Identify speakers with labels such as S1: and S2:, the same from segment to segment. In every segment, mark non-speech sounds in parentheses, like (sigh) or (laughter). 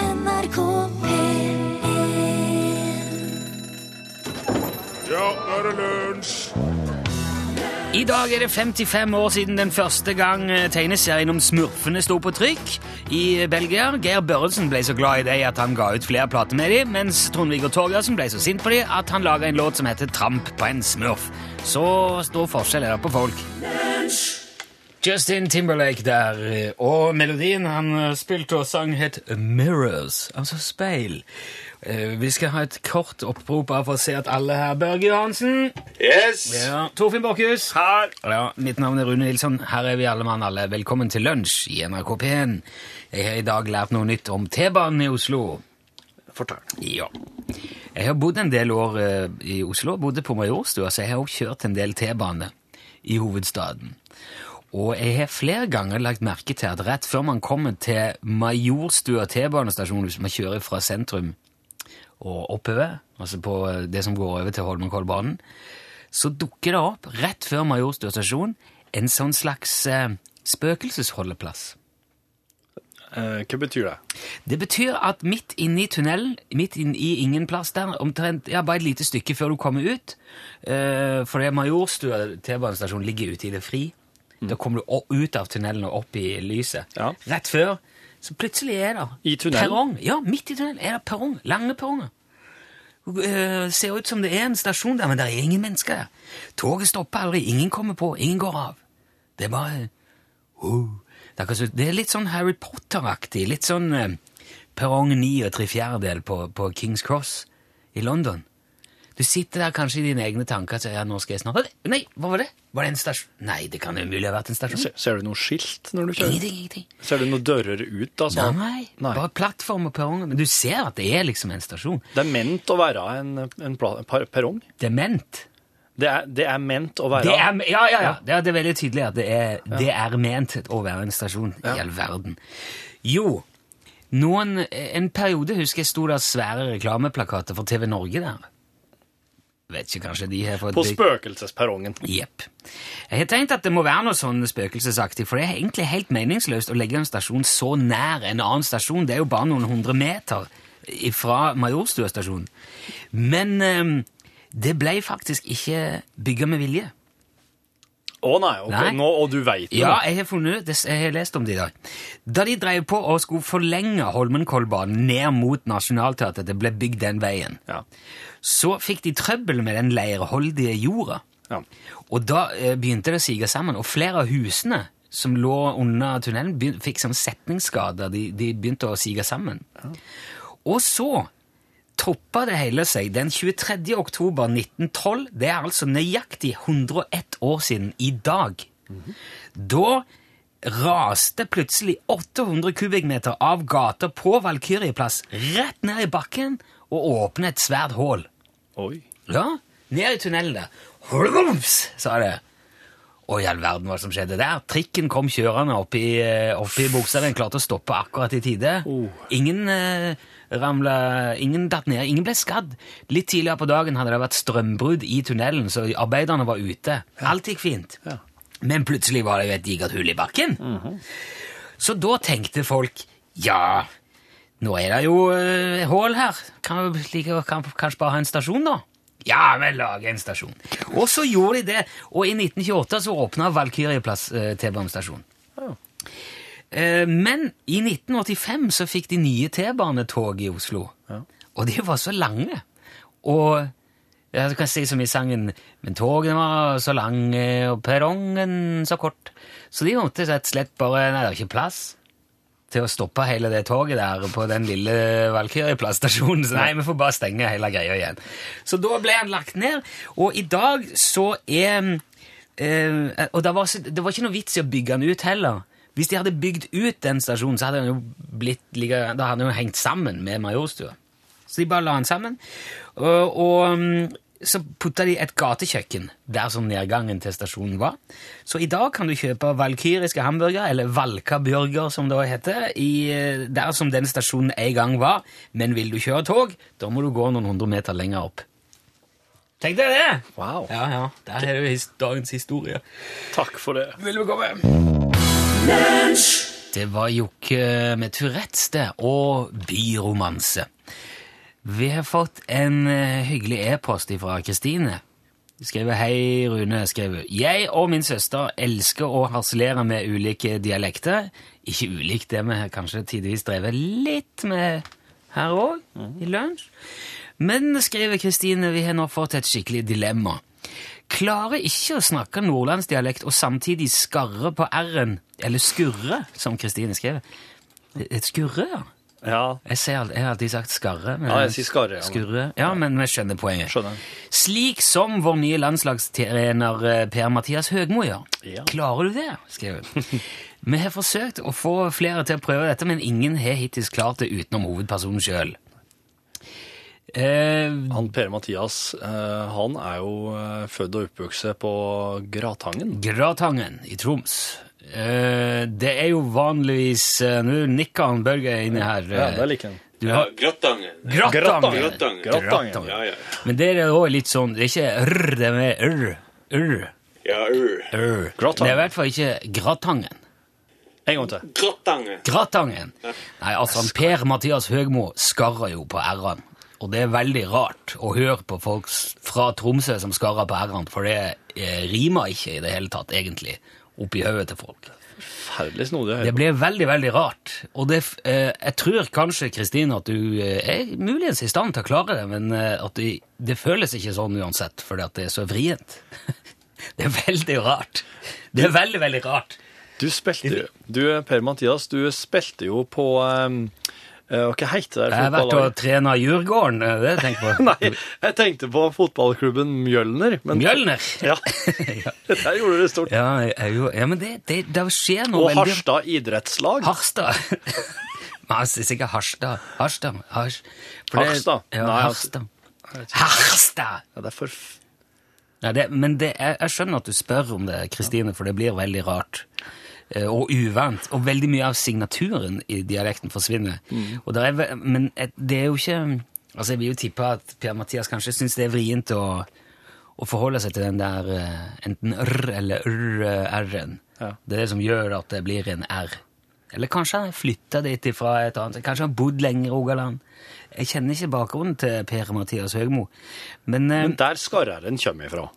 S1: NRK P1
S2: Ja, nå er det lunsj!
S3: I dag er det 55 år siden den første gang eh, tegneserien om smurfene sto på trykk i eh, Belgia. Geir Børresen ble så glad i dem at han ga ut flere plater med dem, mens Trond-Viggo Torgersen ble så sint på dem at han laga en låt som heter Tramp på en smurf. Så stor forskjell er det på folk. Justin Timberlake der, eh, og melodien han eh, spilte og sang het Mirrors, altså speil. Eh, Vi skal ha et kort opprop bare for å se at alle her Børge Johansen.
S2: Yes!
S3: Ja. Torfinn Borkhus.
S2: Her!
S3: Ja, mitt navn er Rune Nilsson. Her er vi alle mann alle. Velkommen til lunsj i NRK P1. Jeg har i dag lært noe nytt om T-banen i Oslo.
S2: Fortell.
S3: Ja. Jeg har bodd en del år eh, i Oslo, bodde på Majorstua, så jeg har også kjørt en del T-bane i hovedstaden. Og jeg har flere ganger lagt merke til at rett før man kommer til Majorstua T-banestasjon, hvis man kjører fra sentrum og oppover, altså på eh, det som går over til Holmenkollbanen, så dukker det opp, rett før Majorstua stasjon, en sånn slags eh, spøkelsesholdeplass.
S2: Eh, hva betyr det?
S3: Det betyr at midt inni tunnelen, midt inn i ingen plass der, omtrent, ja, bare et lite stykke før du kommer ut, eh, for det er Majorstua T-banestasjon ligger ute i det fri, da kommer du o- ut av tunnelen og opp i lyset.
S2: Mm. Ja.
S3: Rett før, så plutselig er det
S2: I tunnelen?
S3: perrong. Ja, midt i tunnelen er det perrong, lange perronger. Eh, ser ut som det er en stasjon der, men det er ingen mennesker der. Toget stopper aldri, ingen kommer på, ingen går av. Det er bare... Oh. Det, er kanskje, det er litt sånn Harry Potter-aktig. Litt sånn eh, perrong 9 og tre fjerdedel på, på Kings Cross i London. Du sitter der kanskje i dine egne tanker og sier ja, nå skal jeg snart Nei, hva var det? Var det en stasjon? Nei, det kan umulig ha vært en stasjon.
S2: Ser, ser du noe skilt når du kjører?
S3: Ingenting, ingenting.
S2: Ser du noen dører ut? da,
S3: Nei,
S2: sånn?
S3: bare plattform og perronger. Men du ser at det er liksom en stasjon.
S2: Det er ment å være en, en, pla- en par- perrong.
S3: Dement.
S2: Det er, det er ment å være
S3: Det er, ja, ja, ja. Det er, det er veldig tydelig at det er, det er ment å være en stasjon i all verden. Jo, noen, en periode husker jeg sto der svære reklameplakater for TV Norge der. Vet ikke, kanskje de har fått
S2: På spøkelsesperrongen.
S3: Jepp. Jeg har tenkt at det må være noe sånn spøkelsesaktig, for det er egentlig helt meningsløst å legge en stasjon så nær en annen stasjon. Det er jo bare noen hundre meter fra Majorstua stasjon. Men eh, det ble faktisk ikke bygga med vilje.
S2: Å nei, ok,
S3: Nei.
S2: Nå, og du veit det.
S3: Ja,
S2: nå.
S3: jeg har funnet ut, det. jeg har lest om det i dag. Da de drev på og skulle forlenge Holmenkollbanen ned mot Nationaltheatret, det ble bygd den veien,
S2: Ja.
S3: så fikk de trøbbel med den leirholdige jorda.
S2: Ja.
S3: Og da eh, begynte det å sige sammen, og flere av husene som lå under tunnelen, begyn- fikk sånn setningsskader. De, de begynte å sige sammen. Og så toppa det hele seg den 23. oktober 1912. Det er altså nøyaktig 101 år siden i dag. Da raste plutselig 800 kubikkmeter av gata på Valkyrjeplass rett ned i bakken og åpnet et svært hull.
S2: Oi.
S3: Ja, ned i tunnelen der. Holmums, sa det. Og i all verden hva som skjedde der. Trikken kom kjørende opp i, eh, opp i buksa. Den klarte å stoppe akkurat i tide.
S2: Oh.
S3: Ingen eh, ramla Ingen datt ned. Ingen ble skadd. Litt tidligere på dagen hadde det vært strømbrudd i tunnelen, så arbeiderne var ute. Alt gikk fint.
S2: Ja. Mhm.
S3: Men plutselig var det jo et digert hull i bakken. Så da tenkte folk ja, nå er det jo uh, hull her. Kan vi like, kan, kanskje bare ha en stasjon, da? Ja, vi lager en stasjon. Og så gjorde de det. Og i 1928 så åpna Valkyrjeplass uh, T-banestasjon. Eh, men i 1985 så fikk de nye T-banetog i Oslo. Og de var så lange. Og ja, du kan si som i sangen Men togene var så lange, og perrongen så kort. Så de måtte rett og slett bare Nei, det er ikke plass til å stoppe hele det toget der på den lille Valkyrjeplass-stasjonen. Så nei, vi får bare stenge hele greia igjen. Så da ble han lagt ned, og i dag så er eh, Og det var, så- det var ikke noe vits i å bygge han ut heller. Hvis de hadde bygd ut den stasjonen, så hadde den jo blitt like, Da hadde den jo hengt sammen med Majorstua. Så de bare la den sammen. Og, og mm, så putta de et gatekjøkken der som nedgangen til stasjonen var. Så i dag kan du kjøpe valkyriske hamburgere, eller valkabjørger som det heter, i, eh, der som den stasjonen en gang var. Men vil du kjøre tog, da må du gå noen hundre meter lenger opp. Tenk deg det!
S2: Wow.
S3: Ja, ja. Der er jo his- dagens historie.
S2: Takk for det.
S3: Vil du komme? Det var Jokke med Tourettes, det, og byromanse. Vi har fått en eh, hyggelig e-post fra Kristine. Hun Skriver Hei, Rune. Skriver hun. Jeg og min søster elsker å harselere med ulike dialekter. Ikke ulikt det vi har kanskje tidvis drevet litt med her òg, i lunsj. Men, skriver Kristine, vi har nå fått et skikkelig dilemma. Klarer ikke å snakke nordlandsdialekt og samtidig skarre på r-en, eller skurre, som Kristine skriver. Et skurre, ja.
S1: Ja,
S3: Jeg, ser, al- jeg har alltid sagt skarre. Men
S1: Ja, jeg sier skarre, ja.
S3: Skurre. Ja, men vi skjønner poenget.
S1: Skjønner.
S3: Slik som vår nye landslagstrener eh, Per-Mathias Høgmo gjør.
S1: Ja.
S3: Klarer du det? skrev hun. (laughs) vi har forsøkt å få flere til å prøve dette, men ingen har hittil klart det utenom hovedpersonen sjøl. Eh,
S1: han Per-Mathias, eh, han er jo eh, født og oppvokst på Gratangen.
S3: Gratangen i Troms. Eh, det er jo vanligvis eh, Nå nikker han Børge inni her. eh,
S1: Ja, der liker han.
S3: Du har
S4: Grattangen.
S3: Gratangen.
S4: Grattangen.
S1: Gratangen.
S4: Ah, Ja, ja.
S3: Men det er òg litt sånn Det er ikke r, det er mer r. r.
S4: Ja, ur.
S3: r.
S1: Gratangen.
S3: Det er i hvert fall ikke Gratangen.
S1: En gang til.
S4: Grattangen.
S3: Gratangen! Nei, altså, han Per-Mathias Høgmo skarrer jo på r-en. Og det er veldig rart å høre på folk s- fra Tromsø som skarrer på r-en, for det eh, rimer ikke i det hele tatt, egentlig, oppi hodet til folk.
S1: Herlig snodig å
S3: Det
S1: høre.
S3: ble veldig, veldig rart. Og det, f- eh, jeg tror kanskje, Kristine, at du eh, er muligens i stand til å klare det, men eh, at det, det føles ikke sånn uansett, fordi at det er så vrient. (laughs) Det er veldig rart. Det er veldig, veldig rart.
S1: Du spilte jo Du, Per-Mathias, du spilte jo på eh, eh, Hva heter det?
S3: Jeg har vært og
S1: fotballaget? (laughs)
S3: trena Djurgården, eh, det tenker (laughs) jeg på.
S1: Nei, jeg tenkte på fotballklubben Mjølner. Men,
S3: (laughs) Mjølner.
S1: (laughs) Ja. Der gjorde du det stort.
S3: Ja, jeg er jo, ja men det, det, det skjer noe
S1: Og
S3: veldig
S1: Harstad idrettslag.
S3: Harstad. (laughs) Men han sier sikkert Harstad. Harstad. Hars, for det-
S1: Harstad?
S3: Ja,
S1: Nei,
S3: Harstad. altså- Harstad!
S1: Ja, det er forf...
S3: Ja, det, men det, jeg, jeg skjønner at du spør om det, Kristine, for det blir veldig rart. eh, Og uvant. Og veldig mye av signaturen i dialekten forsvinner.
S1: Mm.
S3: Og der er, ve- men et- det er jo ikke Altså, Jeg vil jo tippe at Per-Mathias kanskje syns det er vrient å, å forholde seg til den der eh, enten r- eller r-r-en.
S1: Ja.
S3: Det er det som gjør at det blir en r. Eller kanskje han flytta dit ifra et annet Kanskje han bodd lenger i Rogaland. Jeg kjenner ikke bakgrunnen til Per-Mathias Høgmo, men, eh,
S1: Men der skarreren kommer ifra.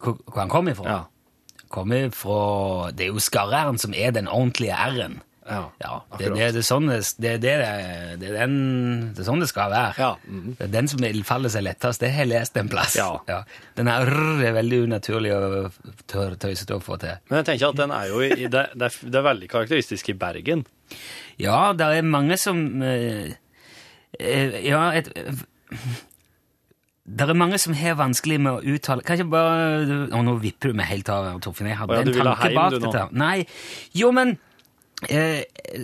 S3: hvor, hvor han kom ifra?
S1: Ja.
S3: Kom ifra Det er jo skarre-r-en som er den ordentlige r-en.
S1: Ja,
S3: det,
S1: akkurat.
S3: det, det, er sånn det, det, det, er- det, er den, det er sånn det skal være.
S1: Ja, mhm.
S3: Det er den som faller seg lettest. Det har jeg lest en plass.
S1: Ja.
S3: Den her r er veldig unaturlig og tør- tøysete å få til.
S1: Men jeg tenker at den er jo i, i- det, det, er, det er veldig karakteristisk i Bergen.
S3: Ja, det er mange som eh, eh, Ja, et det er mange som har vanskelig med å uttale Kan ikke bare Å, nå vipper du meg helt av, Torfinn. Jeg hadde
S1: Å ja, du
S3: en
S1: vil ha
S3: tanke
S1: heim,
S3: bak
S1: du, nå.
S3: dette. her. Nei, jo, men eh,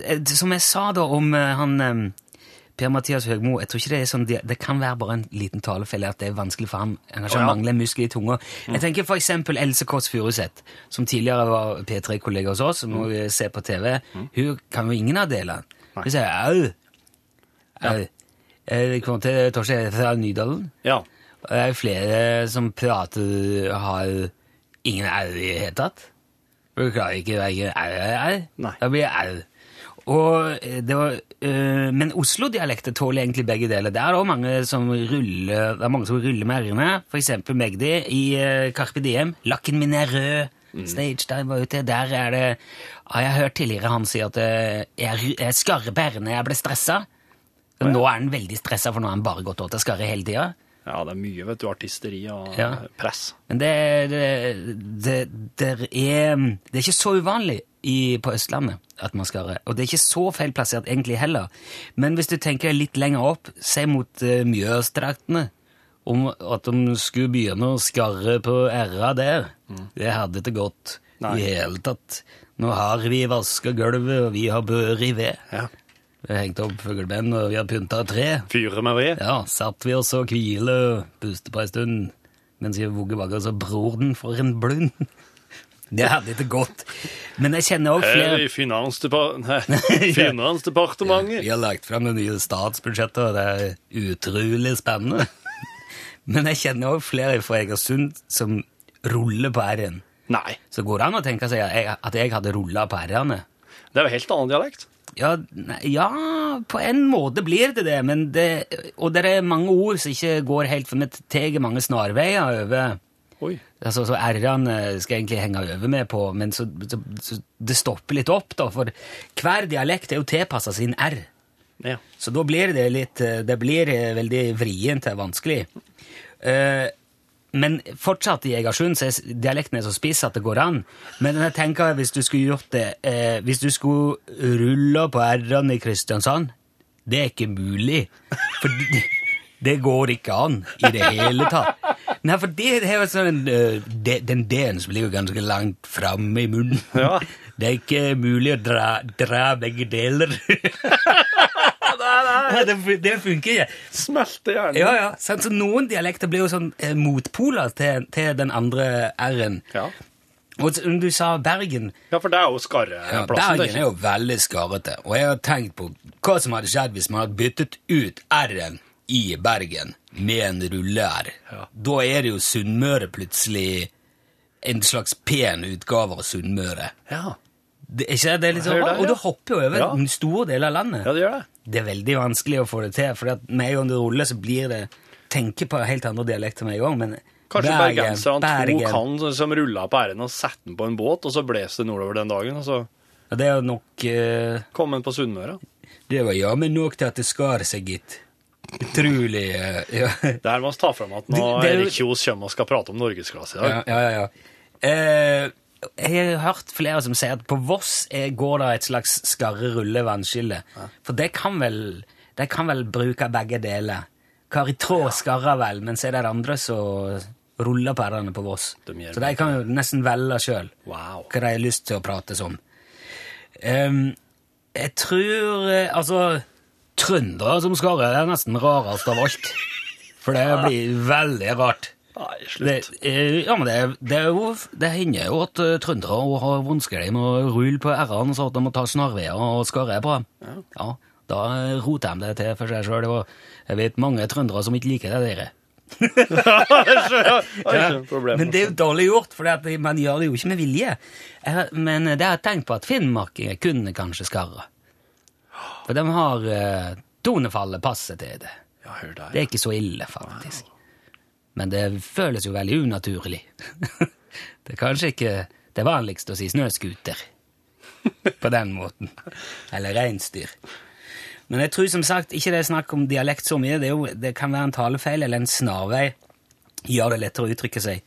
S3: eh, Som jeg sa da om eh, han eh, Per-Mathias Høgmo Jeg tror ikke det er sånn Det, det kan være bare en liten talefelle at det er vanskelig for han. Han
S1: Å
S3: kanskje
S1: ja. Mm.
S3: mangler en muskel i tunga. Jeg tenker for eksempel Else Kåss Furuseth, som tidligere var P3-kollega hos
S1: Mm.
S3: oss, som nå eh, ser på TV. Hun kan jo ingen av delene. Hun sier au. Au. Jeg kommer til Torstein fra Nydalen.
S1: Ja.
S3: Og det er jo flere som prater har ingen r i det hele tatt. For du klarer ikke verken r eller r.
S1: Nei.
S3: Da blir det r. Og eh, det var, eh, men Oslo-dialekter tåler egentlig begge deler. Det er også mange som ruller, det er mange som ruller med r-ene. For eksempel Magdi i eh, Carpe Diem. 'Lakken min er rød'. Stage dive var ute. Der er det Har jeg hørt tidligere han si at eh, jeg, jeg skarrer på r-ene, jeg ble stressa. Men Nå er han veldig stressa, for nå har han bare gått åt å skarre hele tida.
S1: ja, det er mye, vet du. Artisteri og
S3: Ja.
S1: press.
S3: Men det, det, det, der er, det er ikke så uvanlig i, på Østlandet at man skal Og det er ikke så feilplassert egentlig heller. Men hvis du tenker litt lenger opp, se mot uh, Mjøsdraktene, om at de skulle begynne å skarre på r-a der, det hadde ikke gått
S1: Mm. Nei.
S3: i hele tatt. Nå har vi vaska gulvet, og vi har bør i ved.
S1: Ja.
S3: Vi har hengt opp fugleband, og vi har pynta tre.
S1: Fyre med ved.
S3: Ja, satt vi oss og hvile og puste på en stund, mens vi vugget bak oss og bror den for en blund. (laughs) Det hadde ikke gått. Men jeg kjenner også
S1: Her
S3: flere...
S1: i finansdepar- (laughs)
S3: (laughs)
S1: nei, Finansdepartementet.
S3: Vi har lagt frem det nye statsbudsjettet, og det er utrolig spennende. (laughs) Men jeg kjenner også flere fra Egersund som ruller på R-en.
S1: Nei.
S3: Så går det an å tenke seg at jeg- at jeg hadde rullet på R-ene.
S1: Det er jo helt annen dialekt.
S3: Ja, nei, ja, på en måte blir det det, men det, og det er mange ord som ikke går helt, for vi tar mange snarveier over
S1: Oi.
S3: altså, Så R-ene skal jeg egentlig henge over med på, men så, så, så det stopper litt opp, da, for hver dialekt er jo tilpassa sin R.
S1: Ja.
S3: Så da blir det litt eh, Det blir eh, veldig vrient og vanskelig. Eh, Men fortsatt i Egersund så er s- dialekten er så spiss at det går an. Men jeg tenker hvis du skulle gjort det eh, Hvis du skulle rulla på r-ene i Kristiansand Det er ikke mulig. For det, det går ikke an i det hele tatt. Nei, for det, det er jo sånn eh, de, Den D-en som ligger ganske langt framme i munnen.
S1: Ja.
S3: (laughs) Det er ikke mulig å dra, dra begge deler. (laughs) Nei, det, fun- det funker ikke.
S1: Smelte hjernen.
S3: Ja, ja. sant? Så noen dialekter blir jo sånn eh, motpoler til, til den andre r-en.
S1: Ja.
S3: Og så- du sa Bergen.
S1: Ja, for det er jo skarreplassen. det
S3: Bergen
S1: ikke-
S3: er jo veldig skarrete, og jeg har tenkt på hva som hadde skjedd hvis man hadde byttet ut r-en i Bergen med en rulle-r.
S1: Ja.
S3: Da er det jo Sunnmøre plutselig en slags pen utgave av Sunnmøre.
S1: Ja.
S3: Det, er ikke det? det er litt sånn,
S1: Hører det,
S3: og
S1: ja.
S3: du hopper jo over
S1: Ja.
S3: en stor del av landet.
S1: ja, det gjør det.
S3: Det er veldig vanskelig å få det til, for med en gang du ruller, så blir det tenker på helt andre dialekter med en gang. Men
S1: Kanskje
S3: Bergen,
S1: bergenserne
S3: Bergen.
S1: tok han som- som rulla på r-en og satte den på en båt, og så bles det nordover den dagen, og så
S3: Ja, det er jo nok eh,
S1: kom han på Sunnmøre.
S3: Det var jammen nok til at det skar seg, gitt. Utrolig eh, ja.
S1: Det her må vi ta fram at når
S3: Det- det er jo-
S1: Erik Kjos kommer og skal prate om norgesklasse i dag.
S3: ja, ja, ja, ja. Eh, jeg har hørt flere som sier at på Voss eh, går det et slags skarre-rulle-vannskille. For det kan vel det kan vel bruke begge deler. Kari Traa skarrer vel, men så er det andre som ruller på r-ene på Voss.
S1: De gjør
S3: så de kan jo nesten velge sjøl
S1: Wow.
S3: hva de har lyst til å prates om. Ehm, jeg tror eh, Altså, trøndere som skarrer, det er nesten rarest av alt. For det blir veldig rart.
S1: Nei, slutt.
S3: Det, eh, ja, men det, det, er jo, det hender jo at eh, trøndere også har vanskelig med å rulle på r-ene, så at de må ta snarveier og skarre på dem. Ja. da eh, roter de det til for seg sjøl. Jeg vet mange trøndere som ikke liker det der.
S1: (laughs) Det er ikke noe problem.
S3: Men det er jo dårlig gjort, for man gjør det jo ikke med vilje. Jeg, har- men eh, det har jeg tenkt på at finnmarkinger kunne kanskje skarre. For de har eh, tonefallet passer til det.
S1: Ja, hør der.
S3: Det er ikke så ille, faktisk. Men det føles jo veldig unaturlig. (laughs) det er kanskje ikke det vanligste å si snøskuter på den måten. Eller reinsdyr. Men jeg tror som sagt ikke det er snakk om dialekt så mye. Det, er jo, det kan være en talefeil eller en snarvei. Gjør det lettere å uttrykke seg.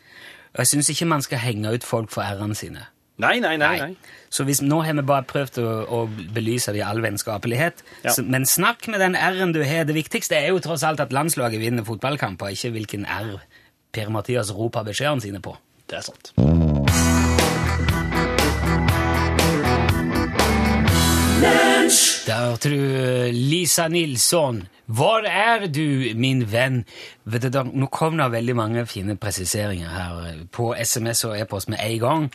S3: Og jeg syns ikke man skal henge ut folk for r-ene sine.
S1: Nei, nei, nei. nei.
S3: Så hvis, nå har vi bare prøvd å, å belyse det i all vennskapelighet.
S1: Ja.
S3: Så, men snakk med den R-en du har. Det viktigste er jo tross alt at landslaget vinner fotballkamper, ikke hvilken R Per-Mathias roper beskjedene sine på.
S1: Det er sant.
S3: Der hørte du eh, Lisa Nilsson. Hvor er du, min venn? Vet du, da- nå kom det veldig mange fine presiseringer her eh, på SMS og e-post med en gang.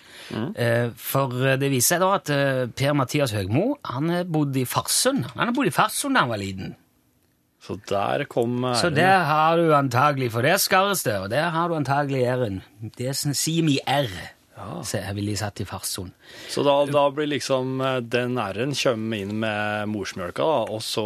S3: Eh, For eh, det viser seg da at eh, Per-Mathias Høgmo han eh, bodde i Farsund. Han har bodd i Farsund da han var liten.
S1: Så der kom
S3: Så
S1: r-en.
S3: der har du antagelig, for der skarres det, og der har du antagelig R-en. Det er sånn Simi R, Se, jeg ville satt i Farsund.
S1: Så da, da blir liksom eh, den r-en kommer inn med morsmjølka, da, og så,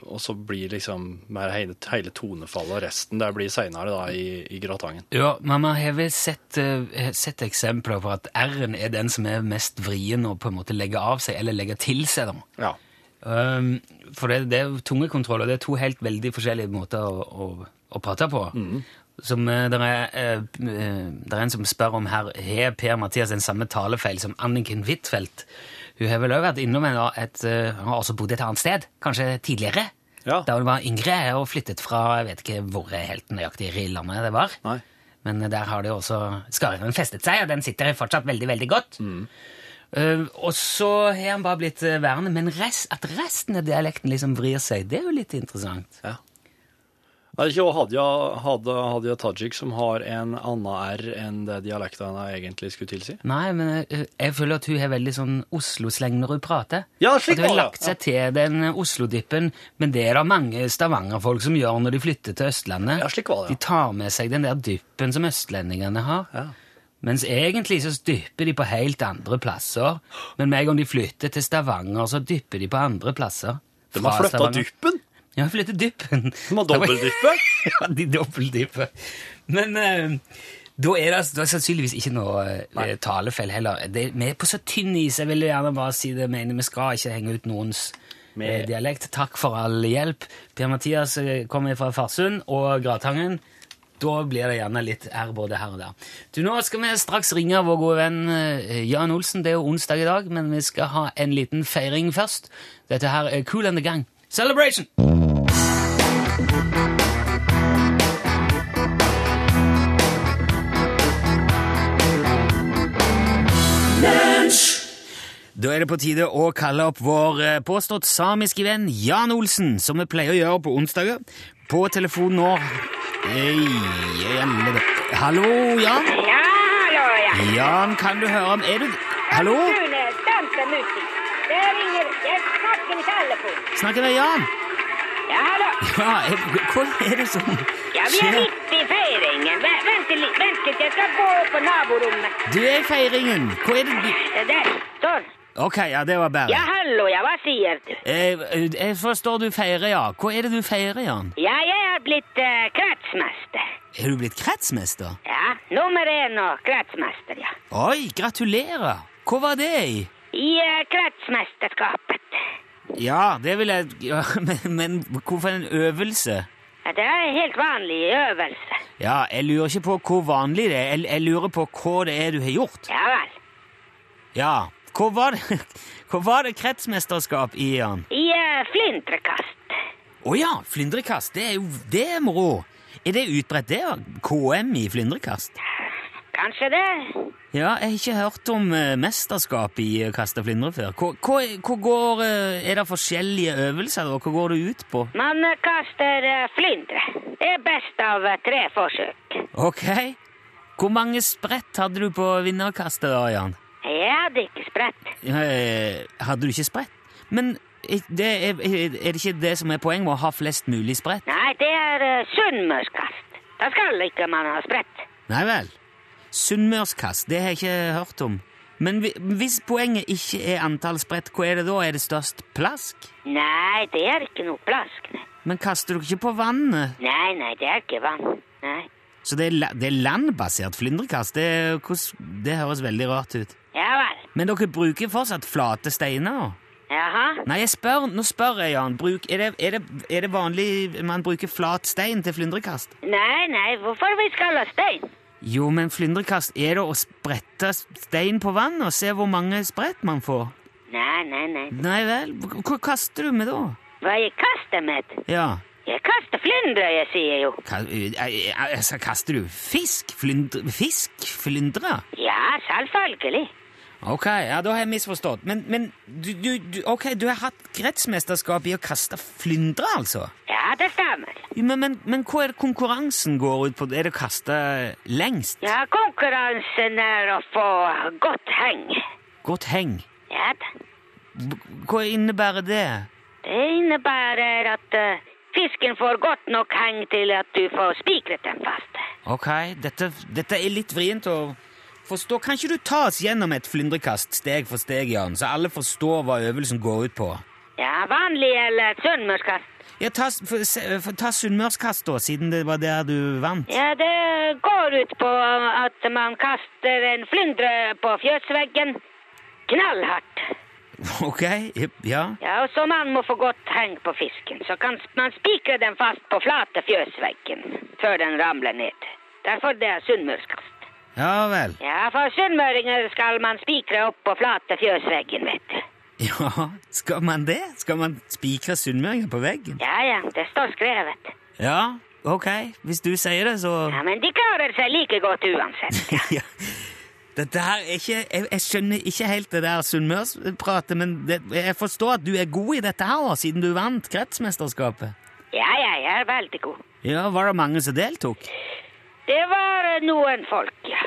S1: og så blir liksom mer hele, hele tonefallet og resten der blir seinere da i, i gratangen.
S3: Ja, men man har vel sett, eh, sett eksempler på at R-en er den som er mest vrien å på en måte legge av seg, eller legge til seg. da.
S1: Ja.
S3: Um, for det, det er jo tungekontroll, og det er to helt veldig forskjellige måter å, å, å prate på.
S1: Mm.
S3: Som eh, der er, eh, eh, der er en som spør om her har Per Mathias den samme talefeil som Anniken Huitfeldt. Hun har vel også vært innom en, et, eh, hun har også bodd et annet sted, kanskje tidligere.
S1: Ja.
S3: Da hun var yngre og flyttet fra jeg vet ikke hvor helt nøyaktig i landet det var.
S1: Nei.
S3: Men der har det jo også skarven festet seg, og den sitter fortsatt veldig, veldig godt.
S1: Mm.
S3: Eh, og så har han bare blitt eh, værende, men rest, at resten av dialekten liksom vrir seg, det er jo litt interessant.
S1: ja. Er det ikke også Hadia, Hadia, Hadia Tajik som har en annen r enn det dialekten jeg egentlig skulle tilsi?
S3: Nei, men eh, jeg føler at hun har veldig sånn Oslo-sleng når hun prater.
S1: Ja, slik
S3: at hun
S1: var
S3: har
S1: det,
S3: lagt seg til den eh, Oslo-dippen, men det er det mange Stavanger-folk som gjør når de flytter til Østlandet.
S1: Ja, slik var det, ja.
S3: De tar med seg den der dyppen som østlendingene har.
S1: Ja.
S3: Mens egentlig så dypper de på helt andre plasser. Men med en gang de flytter til Stavanger, så dypper de på andre plasser.
S1: De
S3: Fra
S1: har flytta
S3: Stavanger.
S1: dyppen!
S3: Ja, flytter dyppen. (laughs)
S1: De har dobbeltdyppe! (laughs)
S3: ja, de dobbeltdypper. Men eh, da er det, altså- da er det sannsynligvis ikke noe uh, talefeil heller. Det, vi er på så tynn is, jeg vil gjerne bare si det. Jeg Mener, vi skal ikke henge ut noens eh,
S1: Vi-
S3: dialekt. Takk for all hjelp. Per-Mathias eh, kommer fra Farsund og Gratangen. Da blir det gjerne litt R både her og der. Du, Nå skal vi straks ringe vår gode venn eh, Jan Olsen. Det er jo onsdag i dag, men vi skal ha en liten feiring først. Dette her er Cool and the Gang. Celebration! Da er det på tide å kalle opp vår eh, påstått samiske venn Jan Olsen, som vi pleier å gjøre på onsdager. På telefon nå Ei, ei, alle da- Hallo, Jan?
S4: Ja, hallo, ja.
S3: Jan, kan du høre om Er du Hallo?
S4: Rune, danse musikk. Det ringer Jeg snakker ikke alle på.
S3: Snakker jeg med Jan?
S4: Ja, hallo.
S3: Ja, er, hvordan er det som
S4: Ja, vi er
S3: skjer?
S4: midt i feiringen. Ve- Vent litt, vent litt. Jeg skal gå på naborommet.
S3: Du er i feiringen. Hva er det du
S4: Det der. Sånn.
S3: Ok, ja, det var
S4: Ja,
S3: bedre.
S4: hallo, ja. Hva sier du?
S3: Eh, eh, Jeg forstår du feirer, ja. Hva er det du feirer, Jan?
S4: Ja, jeg er blitt eh, kretsmester.
S3: Er du blitt kretsmester?
S4: Ja, nummer én og kretsmester, ja.
S3: Oi, gratulerer! Hva var det i?
S4: I eh, kretsmesterskapet.
S3: Ja, det vil jeg ja, (laughs) men, men hvorfor en øvelse?
S4: Ja, det er en helt vanlig øvelse.
S3: Ja, jeg lurer ikke på hvor vanlig det er. Jeg, jeg lurer på hva det er du har gjort.
S4: Ja vel.
S3: Ja, hva var det, (laughs) hva var det kretsmesterskap i, Jan?
S4: I eh, flintrekast.
S3: Å ja, flyndrekast. Det er jo det er moro. Er det utbredt, det? ja? KM i flyndrekast?
S4: Kanskje det?
S3: Ja, jeg har ikke hørt om eh, mesterskap i å kaste flyndre før. Hva, hva, hva går eh, Er det forskjellige øvelser, da? Hva går det ut på?
S4: Man eh, kaster eh, flyndre. Det er best av eh, tre forsøk.
S3: Ok. Hvor mange sprett hadde du på vinnerkastet, da, Jan?
S4: Jeg hadde ikke spredt.
S3: Eh, Hadde du ikke spredt? Men eh, det er, er det ikke det som er poenget med å ha flest mulig spredt?
S4: Nei, det er uh, sunnmørskast. Da skal ikke man ha spredt.
S3: Nei vel. Sunnmørskast, det har jeg ikke hørt om. Men hvi- hvis poenget ikke er antall spredt, hva er det da? Er det størst plask?
S4: Nei, det er ikke noe plask. Nei,
S3: Men kaster du ikke på vannet?
S4: nei, nei det er ikke vann. Nei.
S3: Så det er, la- det er landbasert flyndrekast? Det, er- hvordan- det høres veldig rart ut.
S4: Ja vel.
S3: Men dere bruker fortsatt flate steiner?
S4: Jaha.
S3: Nei, jeg spør, nå spør jeg, Jan. Bruk, er, det, er, det, er det vanlig man bruker flat stein til flyndrekast?
S4: Nei, nei, hvorfor vi skal ha stein?
S3: Jo, men flyndrekast er det å sprette stein på vann og se hvor mange sprett man får.
S4: Nei, nei, nei.
S3: Nei vel, hva hva kaster du med da?
S4: Hva jeg kaster med?
S3: Ja,
S4: Jeg kaster flyndre, jeg sier jo.
S3: ka, eh, eh, altså, kaster du fisk? Flyndre, fisk? Flyndre?
S4: Ja, selvfølgelig.
S3: Ok, ja, da har jeg misforstått. Men, men du, du, du, ok, du har hatt kretsmesterskap i å kaste flyndre, altså?
S4: Ja, det stemmer.
S3: Jo, Men, men, men hva er det konkurransen går ut på? Er det å kaste lengst?
S4: Ja, konkurransen er å få godt heng.
S3: Godt heng.
S4: Ja da.
S3: Hva innebærer det?
S4: Det innebærer at eh, fisken får godt nok heng til at du får spikret den fast.
S3: Ok, dette, dette er litt vrient å forstå. Kan ikke du ta oss gjennom et flyndrekast steg for steg, Jan, så alle forstår hva øvelsen går ut på?
S4: Ja, vanlig eller sunnmørskast.
S3: Ja, ta, s- for, se- for, ta sunnmørskast, da, siden det var der du vant.
S4: Ja, det går ut på at man kaster en flyndre på fjøsveggen knallhardt.
S3: Ok, jep, ja.
S4: Ja, og så man må få godt heng på fisken. Så kan s- man spikre den fast på flate fjøsveggen før den ramler ned. Derfor det er sunnmørskast.
S3: Ja vel.
S4: Ja, for sunnmøringer skal man spikre opp på flate fjøsveggen, vet du.
S3: Ja, skal man det? Skal man spikre sunnmøringer på veggen?
S4: Ja, ja, det står skrevet.
S3: Ja, ok. Hvis du sier det, så
S4: Ja, men de klarer seg like godt uansett.
S3: (laughs) ja. Dette her er ikke Jeg, jeg skjønner ikke helt det der sunnmørspratet, men det, jeg forstår at du er god i dette her, da, siden du vant kretsmesterskapet.
S4: Ja, ja, jeg er veldig god.
S3: Ja, var det mange som deltok?
S4: Det var eh, noen folk, ja.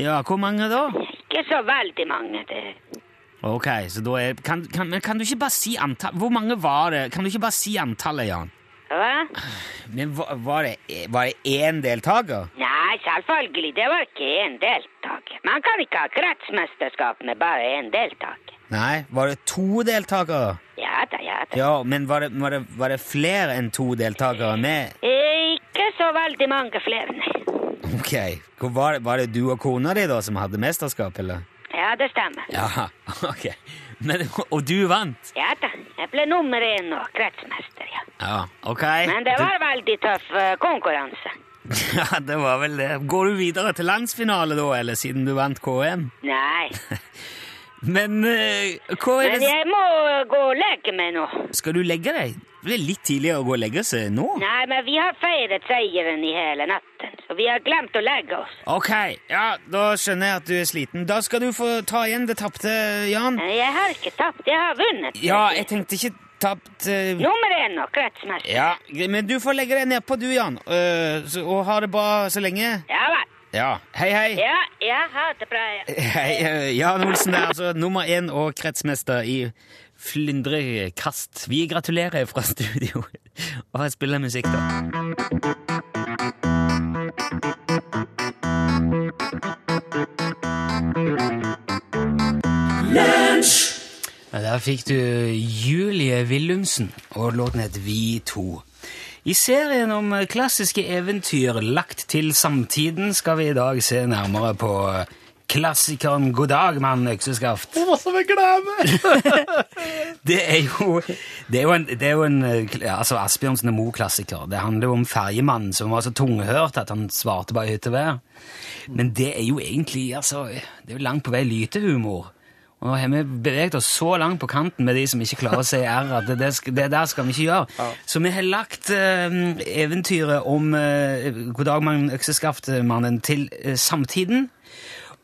S3: Ja, hvor mange da?
S4: Ikke så veldig mange. Det.
S3: Ok, så da er Kan, kan, men kan du ikke bare si antall Hvor mange var det? Kan du ikke bare si antallet, Jan?
S4: Hva?
S5: e-
S3: Men hva- var det, var det én deltaker?
S4: Nei, selvfølgelig, det var ikke én deltaker. Man kan ikke ha kretsmesterskap med bare én deltaker.
S5: Nei, var det to deltakere?
S4: Ja da, ja da.
S5: Ja, men var det, var det, var det flere enn to deltakere med?
S4: Eh, Ikke så veldig mange flere, nei.
S5: Ok, Hvor var, det, var det du og kona di da som hadde mesterskap, eller?
S4: Ja, det stemmer.
S5: Ja, (laughs) ok.
S3: Men, og du vant?
S4: Ja da, jeg ble nummer én og kretsmester, ja.
S5: Ja, ok.
S4: Men det var veldig tøff eh, konkurranse.
S5: (laughs) Ja, det var vel det. Går du videre til landsfinale da, eller siden du vant KM? (laughs)
S4: Nei,
S5: Men eh, hva er
S4: men
S5: det
S4: jeg må eh, gå og legge meg nå.
S5: Skal du legge deg? Det er litt tidligere å gå og legge seg nå.
S4: Nei, men vi har feiret seieren i hele natten, så vi har glemt å legge oss.
S5: Ok, ja, da skjønner jeg at du er sliten. Da skal du få ta igjen det tapte, Jan.
S4: Men Jeg har ikke tapt, jeg har vunnet.
S5: Ja, jeg tenkte ikke tapt eh,
S4: Nummer én og kretsmester.
S5: Ja, men du får legge deg nedpå du, Jan, Eh, så, og ha det bra så lenge.
S4: Ja vel.
S5: Ja. Hei, hei.
S4: Ja, ja, ha det bra. ja.
S5: Hei, eh, Jan Olsen er altså nummer én og kretsmester i flyndrekast. Vi gratulerer fra studio. (laughs) Og jeg spiller musikk, da.
S3: Der fikk du Julie Willumsen, og låten het Vi to. I serien om klassiske eventyr lagt til samtiden skal vi i dag se nærmere på klassikeren God dag, mann, økseskaft.
S1: Hva som er glemme?
S3: Det er jo, det er jo en, det er jo en eh, kl- altså Asbjørnsen og Moe-klassiker. Det handler jo om ferjemannen som var så tunghørt at han svarte bare hyttevær. Men det er jo egentlig altså, det er jo langt på vei lytehumor. Og nå har vi beveget oss så langt på kanten med de som ikke klarer å si R, at det, det, sk- det der skal vi ikke gjøre. Så vi har lagt eh, eventyret om eh, God dag, mann, økseskaft-mannen til eh, samtiden.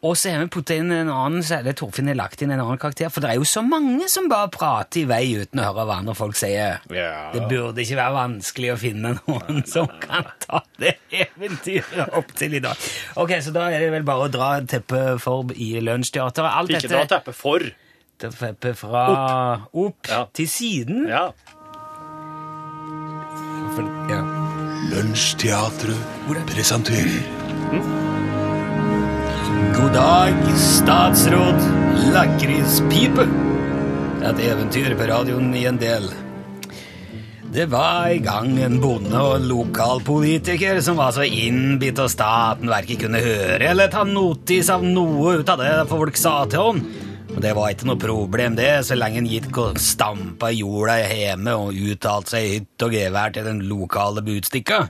S3: Og så har vi puttet inn en annen, så er det Torfinn har lagt inn en annen karakter, for det er jo så mange som bare prater i vei uten å høre hva andre folk sier.
S1: Ja.
S3: Det burde ikke være vanskelig å finne noen som kan ta det eventyret opp til i dag. Ok, så da er det vel bare å dra teppet for i lunsjteateret. Alt
S1: Ikke dra
S3: dette
S1: teppet for.
S3: teppet fra opp,
S1: Ja.
S3: til siden.
S1: Ja.
S3: For- ja.
S2: Lunsjteatret presenterer
S3: God dag, statsråd Lakrispipe. Et eventyr på radioen i en del. Det var en gang en bonde og en lokalpolitiker som var så innbitt og sta at han verken kunne høre eller ta notis av noe ut av det folk sa til han. Og det var ikke noe problem, det, så lenge han gikk og stampa i jorda hjemme og uttalte seg i hytt og gevær til den lokale budstikka.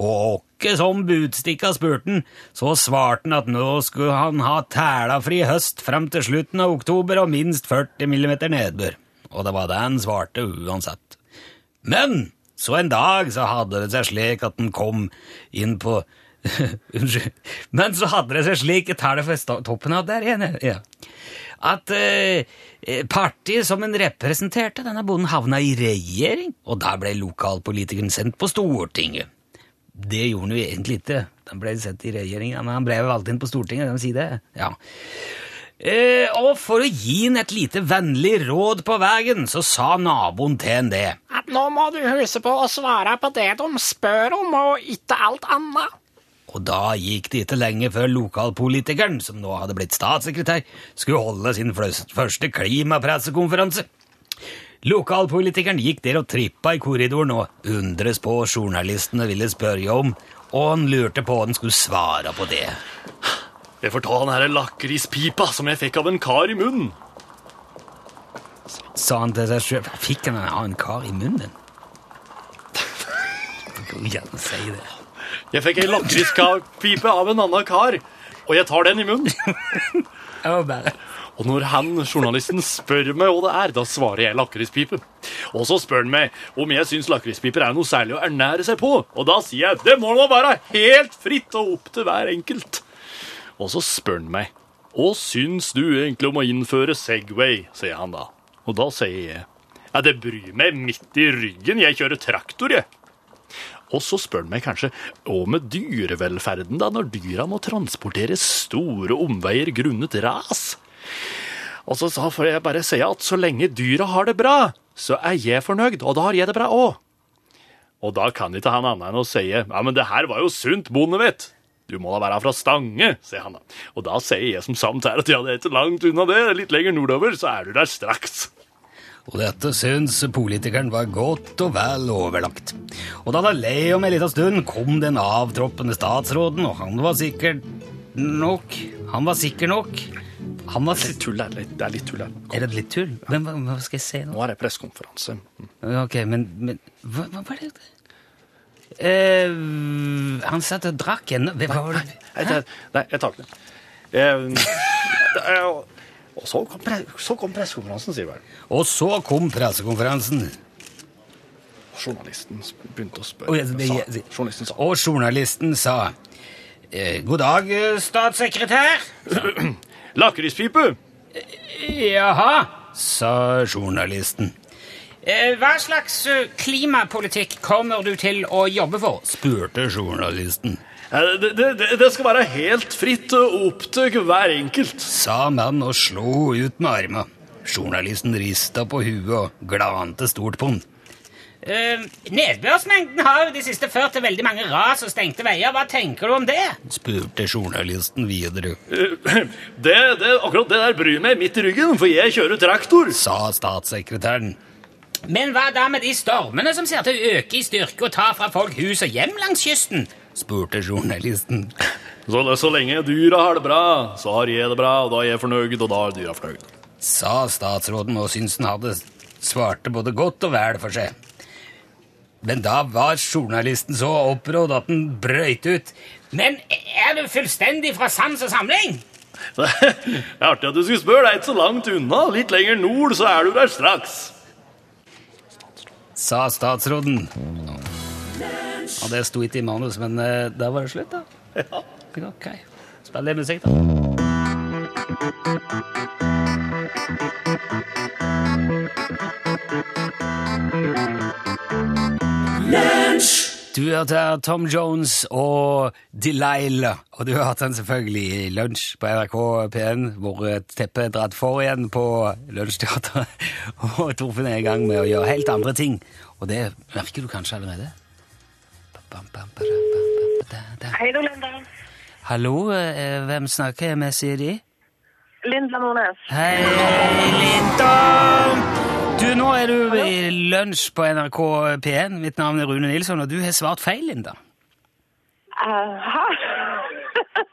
S3: Og åkke som budstikka spurte han, så svarte han at nå skulle han ha tælafri høst fram til slutten av oktober og minst 40 millimeter nedbør. Og det var det han svarte uansett. Men så en dag så hadde det seg slik at den kom inn på (laughs) Unnskyld. Men så hadde det seg slik Jeg tar det fra sta- toppen av der igjen. jeg. Ja. At eh, eh, partiet som en representerte, denne bonden, havna i regjering, og da ble lokalpolitikeren sendt på Stortinget. Det gjorde han jo egentlig ikke. Han ble sendt i regjering, men han ble valgt inn på Stortinget, kan man si det. Ja. Eh, og for å gi han et lite vennlig råd på veien, så sa naboen til han det.
S6: at nå må du huske på å svare på det de spør om, og ikke alt annet.
S3: Og da gikk det ikke lenge før lokalpolitikeren, som nå hadde blitt statssekretær, skulle holde sin fløs- første klimapressekonferanse. Lokalpolitikeren gikk der og trippa i korridoren og undres på hva journalistene ville spørre om, og han lurte på hva han skulle svare på det.
S1: Jeg får ta den her lakrispipa som jeg fikk av en kar i munnen.
S3: Sa han til seg sjøl. Fikk han en annen kar i munnen? Du kan jo gjerne si det.
S1: Jeg fikk ei lakrispipe av en annen kar, og jeg tar den i munnen.
S3: (laughs) Jeg var bare...
S1: Og når han, journalisten, spør meg hva det er, da svarer jeg lakrispipe. Og så spør han meg om jeg syns lakrispiper er noe særlig å ernære seg på. Og da sier jeg det må nå være helt fritt og opp til hver enkelt. Og så spør han meg hva syns du egentlig om å innføre Segway, sier han da. Og da sier jeg ja, det bryr meg midt i ryggen, jeg kjører traktor, jeg. Og så spør han meg kanskje hva med dyrevelferden, da, når dyra må transportere store omveier grunnet ras? Og så sa- får jeg bare si at så lenge dyra har det bra, så er jeg fornøyd, og da har jeg det bra òg. Og da kan ikke han annet enn å si ja, men det her var jo sunt, bondevitt. Du må da være fra Stange, sier han da. Og da sier jeg som samt her at ja, det er ikke langt unna det. Litt lenger nordover, så er du der straks.
S3: Og dette syns politikeren var godt og vel overlagt. Og da det lei om en liten stund, kom den avtroppende statsråden, og han var sikker nok. Han var sikker nok. Han var
S1: Litt tull her. litt- Det er litt tull her.
S3: Er det litt tull? Men hva, hva skal jeg si nå?
S1: Nå er det pressekonferanse.
S3: Ok, men, men hva, hva var det? Eh, han satt og drakk ennå. Hva var det?
S1: Nei, det- nei, jeg tar ikke det. Eh, og- Og så kom, pre så kom pressekonferansen, sier vel.
S3: Og så kom pressekonferansen.
S1: Journalisten sp- begynte å spørre.
S3: Og, jeg- jeg-
S1: sa, journalisten sa
S3: og journalisten sa eh, God dag, eh, statssekretær.
S1: Lakrispipe!
S3: Jaha, sa journalisten. Eh, Hva slags klimapolitikk kommer du til å jobbe for? spurte journalisten.
S1: Eh, Det, det, det- det skal være helt fritt og opp til hver enkelt. (laughs)
S3: Sa mannen og slo ut med armen. Journalisten rista på huet og glante stort på den. Eh,
S5: Nedbørsmengden har jo de siste ført til veldig mange ras og stengte veier. Hva tenker du om det?
S3: Spurte journalisten videre.
S1: Eh, Det, det, akkurat det der bryr meg midt i ryggen, for jeg kjører traktor.
S3: Sa statssekretæren.
S5: Men hva da med de stormene som ser til å øke i styrke og ta fra folk hus og hjem langs kysten?
S3: Spurte journalisten.
S1: Så, så lenge dyra har det bra, så har jeg det bra, og da er jeg fornøyd, og da er dyra fornøyd. (laughs)
S3: Sa statsråden og syntes han hadde svarte både godt og vel for seg. Men da var journalisten så opprådd at han brøyt ut.
S5: Men er du fullstendig fra sans og samling?
S1: Det er artig at du skulle spørre. Det er ikke så langt unna. Litt lenger nord, så er du der straks.
S3: sa statsråden. Ja, det sto ikke i manus, men eh, da var det slutt, da. Ja. Ok. Spill litt musikk, da. Du hørte Tom Jones og Delilah, og du hørte han selvfølgelig i lunsj på NRK P1, hvor eh, teppet er dratt for igjen på Lunsjteatret. (laughs) Og Torfinn er i gang med å gjøre helt andre ting, og det merker du kanskje allerede.
S7: Hei, du, Linda.
S3: Hallo, eh, hvem snakker jeg med, sier de?
S7: Linda Nordnes.
S3: Hei, Linda! Du, nå er du i lunsj på NRK P1. Mitt navn er Rune Nilsson, og du har svart feil, Linda.
S7: Aha. (laughs)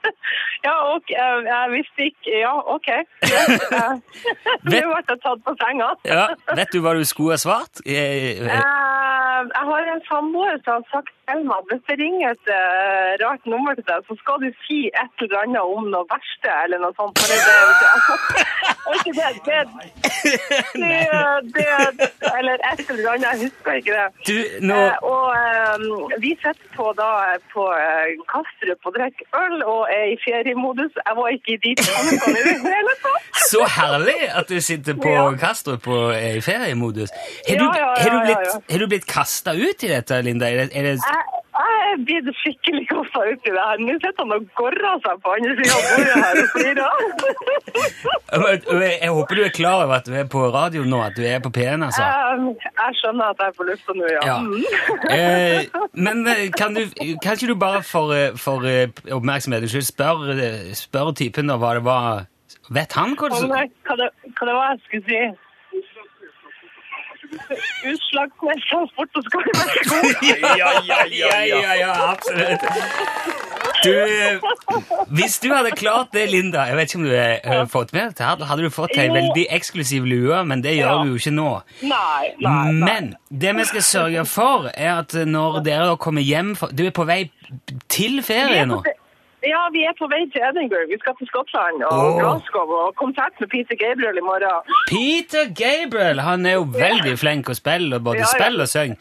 S7: ja, og eh, jeg visste ikke Ja, OK. Ja, eh, (laughs) Nå ble jeg tatt på senga.
S3: Ja, Vet du hva du skulle ha svart? Eh, eh,
S7: Eh, jeg har en samboer som har sagt til meg at hvis det ringer et eh, rart nummer til deg, så skal du si et eller annet om noe verste eller noe sånt. For det (laughs) er ikke det. Det, det, det, det Eller et eller annet, jeg husker ikke det.
S3: Du, nå
S7: Eh, og eh, vi sitter på, da, på eh, Kastrup og drikker øl og er i feriemodus. Jeg var ikke i de tankene i det hele tatt.
S3: Så herlig at du sitter på
S7: Ja.
S3: Kastrup og er i feriemodus. Har du,
S7: Ja, ja, ja,
S3: har du
S7: ja,
S3: blitt, har du blitt kasta ut i dette, Linda? Er det, er det,
S7: Jeg, jeg er blitt skikkelig kasta ut i det her. Nå sitter han og gorrer seg på andre sida av bordet her og
S3: (laughs)
S7: flirer.
S3: jeg håper du er klar over at du er på radio nå, at du er på P1, altså.
S7: Um, jeg skjønner at jeg er på lufta nå, ja.
S3: Ja.
S7: Mm.
S3: Eh, men eh, kan, du, kan ikke du bare for, eh, for eh, oppmerksomhetens skyld spørre spør typen om hva det var Vet han hva det
S7: Kom
S3: var?
S7: her, Sånn, eh, Hva det, hva det var jeg skulle si? Utslag på transport og skole.
S1: Ja, ja,
S3: Ja, ja, ja, absolutt. Du, eh, hvis du hadde klart det, Linda Jeg vet ikke om du har eh, fått med dette, her, hadde du fått ei
S7: Jo.
S3: veldig eksklusiv lue, men det gjør
S7: Ja.
S3: du jo ikke nå.
S7: Nei, nei, nei.
S3: Men det vi skal sørge for, er at når dere da kommer hjem fra- Du er på vei til
S7: Vi
S3: ferie
S7: er
S3: nå?
S7: på ve- Ja, vi er på vei til Edinburgh. Vi skal til Skottland og
S3: Åh.
S7: Glasgow og konsert med Peter Gabriel i morgen.
S3: Peter Gabriel han er jo veldig flink å spille, og både
S7: Ja, ja.
S3: spille og syng.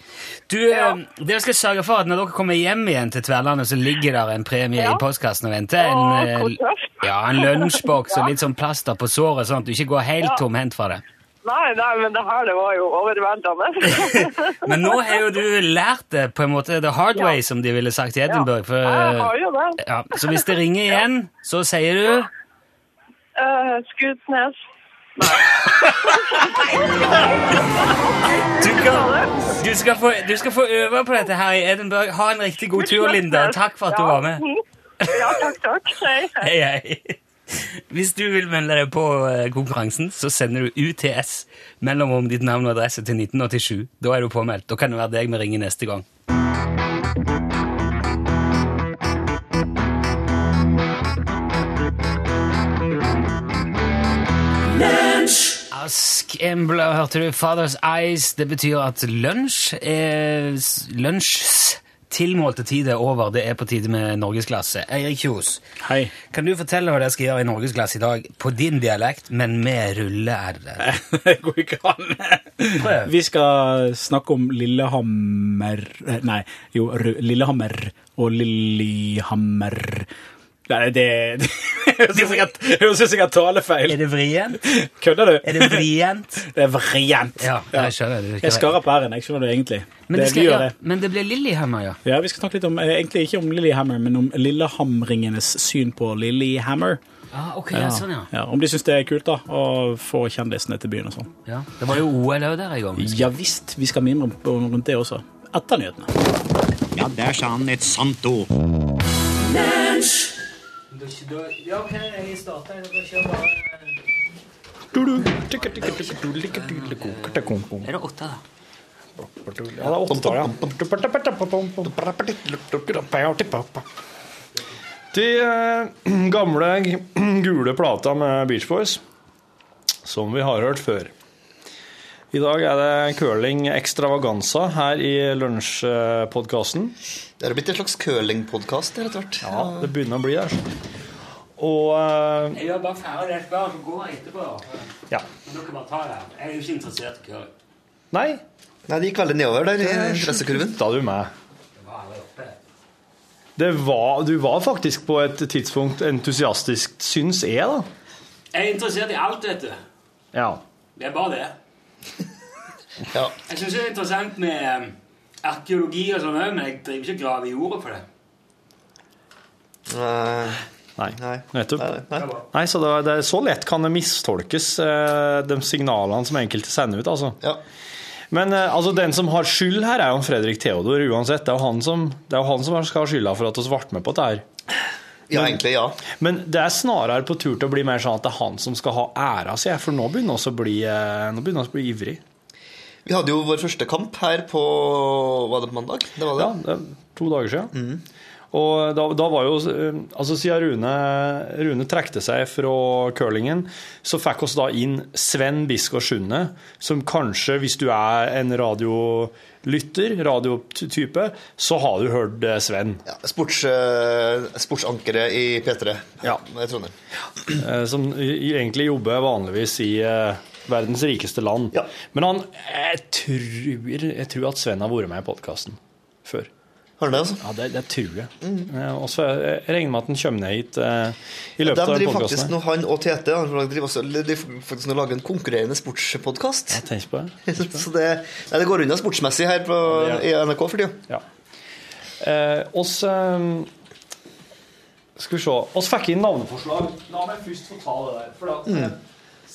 S3: Du,
S7: Ja.
S3: eh, Dere skal sørge for at når dere kommer hjem igjen til Tverlandet, så ligger der en premie
S7: Ja.
S3: i postkassen og venter.
S7: Åh,
S3: En, eh,
S7: hvor tøft.
S3: ja, en lunsjboks og litt sånn plaster på såret, sånn at du ikke går helt
S7: Ja.
S3: tomhendt fra det.
S7: Nei, nei, men det her det var jo
S3: (laughs)
S7: overveldende.
S3: Men nå har jo du lært det på en måte the hard way, som de ville sagt i Edinburgh. For, eh,
S7: Jeg har jo det.
S3: ja, så hvis det ringer igjen, så sier du
S7: Eh, Skutsnes.
S3: Du, kan, du, skal få, du skal få øve på dette her i Edinburgh. Ha en riktig god tur, Linda. Takk for at du var med.
S7: Mhm. (laughs) Ja, takk, takk. Hei, hei.
S3: Hei, hei. Hvis du vil melde deg på eh, konkurransen, så sender du UTS mellom om ditt navn og adresse til 1987. Da er du påmeldt. Da kan det være deg vi ringer neste gang. Askembla, hørte du? Father's Eyes. Det betyr at lunsj er s- Lunsjs tilmålte tid er over. Det er på tide med norgesklasse. Eirik Kjos.
S8: Hei.
S3: Kan du fortelle hva dere skal gjøre i norgesklasse i dag? På din dialekt, men med rulle-r.
S8: (laughs) Det går ikke an.
S3: Prøv.
S8: Vi skal snakke om Lillehammer eh, Nei, jo, Ru- Lillehammer og Lillehammer. Nei, det (laughs) det Høres ut som jeg- det høres ut som jeg har
S3: Er
S8: talefeil.
S3: det vrient?
S8: Kødder du?
S3: Er det vrient?
S8: (laughs) Det er vrient.
S3: Ja, jeg skjønner det.
S8: Jeg skarrer på r-en, jeg skjønner det egentlig.
S3: Men det,
S8: vi
S3: skal,
S8: gjør
S3: ja,
S8: det.
S3: men det blir Lillehammer, ja.
S8: Ja, Vi skal snakke litt om, eh, egentlig ikke om Lillehammer, men om lillehamringenes syn på Lillehammer.
S3: Ah, ok, ja, sånn, ja.
S8: Ja, om de syns det er kult da, å få kjendisene til byen og sånn.
S3: ja. Det var jo OL òg der i gang.
S8: Ja visst, vi skal mimre på- rundt det også. Etter nyhetene.
S9: Ja, der sa han et sant ord.
S3: Er det åtte, da?
S10: De eh, (clears throat) gamle g- gule plata med Beach Boys, som vi har hørt før. I dag er det curling extravaganza her i lunsjpodkasten.
S11: Det er blitt en slags curlingpodkast etter hvert.
S10: Ja, det begynner å bli der. Og eh,
S3: Jeg gjør bare ferdig det spørsmålet og går etterpå.
S10: ja.
S3: Dere bare tar det. Jeg er jo ikke interessert i curling.
S10: Nei,
S11: Nei, det gikk veldig nedover der i
S10: det
S11: interessekurven.
S10: slutta du med. Det var, du var faktisk på et tidspunkt entusiastisk, syns jeg, da.
S3: Jeg er interessert i alt, vet du.
S10: Ja.
S3: Det er bare det.
S12: (laughs)
S11: Ja.
S3: Jeg syns det er interessant med eh, arkeologi og sånn òg, men jeg driver ikke og graver i jorda for det.
S11: Nei,
S10: Nei.
S11: nei.
S10: Nettopp.
S11: Nei, nei.
S10: Nei, så det, det, Så lett kan det mistolkes, eh, de signalene som enkelte sender ut. altså.
S11: Ja.
S10: Men eh, altså, den som har skyld her, er jo han Fredrik Theodor uansett. Det er jo han som, det er jo han som skal ha skylda for at vi ble med på dette. her.
S11: ja, egentlig ja.
S10: Men det er snarere på tur til å bli mer sånn at det er han som skal ha æra si, for nå begynner vi å bli, eh, nå begynner oss å bli ivrig.
S11: Vi hadde jo vår første kamp her på Var det på mandag? Det var det. Mm.
S10: Ja, det er to dager siden. Og da, da var jo eh, Altså, siden Rune, Rune trekte seg fra curlingen, så fikk oss da inn Sven Biskår Sunde, som kanskje, hvis du er en radiolytter, radiotype, så har du hørt eh, Sven.
S11: Ja, sports, eh, sportsankere i P3
S10: Ja.
S11: i Trondheim.
S10: eh, som i- egentlig jobber vanligvis i eh, verdens rikeste land.
S11: Ja.
S10: Men han jeg tror, jeg tror at Sven har vært med i podkasten før.
S11: Har du det, altså?
S10: Ja, det, det tror jeg. Eh, Og så jeg regner med at han kommer ned hit eh, i løpet
S11: De
S10: av
S11: driver faktisk
S10: podkasten.
S11: nå, han og Tete han driver også, de driver faktisk nå og lager en konkurrerende sportspodkast.
S10: Tenk på det.
S11: (laughs) Så det, nei, det går unna sportsmessig her på,
S10: Ja, det
S11: i NRK for tida.
S10: Ja. Eh, oss eh, Skal vi se Oss fikk inn navneforslag. La meg først få ta det der. For at, eh,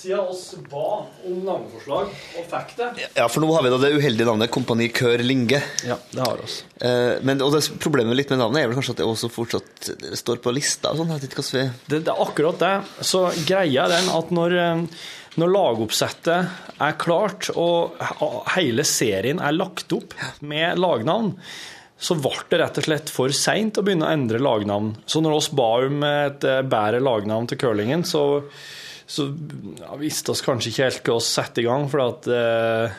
S10: siden oss ba om navneforslag og fikk det
S11: Ja, for nå har vi da det uheldige navnet Kompani Kør Linge.
S10: Ja, det har oss.
S11: Eh, Men, og det, problemet litt med navnet er vel kanskje at det også fortsatt står på lista og sånn. Jeg vet ikke hvordan vi
S10: Det, det er akkurat det. Så greia er den at når, eh, når lagoppsettet er klart, og he- hele serien er lagt opp med lagnavn, så ble det rett og slett for seint å begynne å endre lagnavn. Så når oss ba om et eh, bedre lagnavn til curlingen, så, så ja, visste oss kanskje ikke helt hva vi sette i gang, for at eh,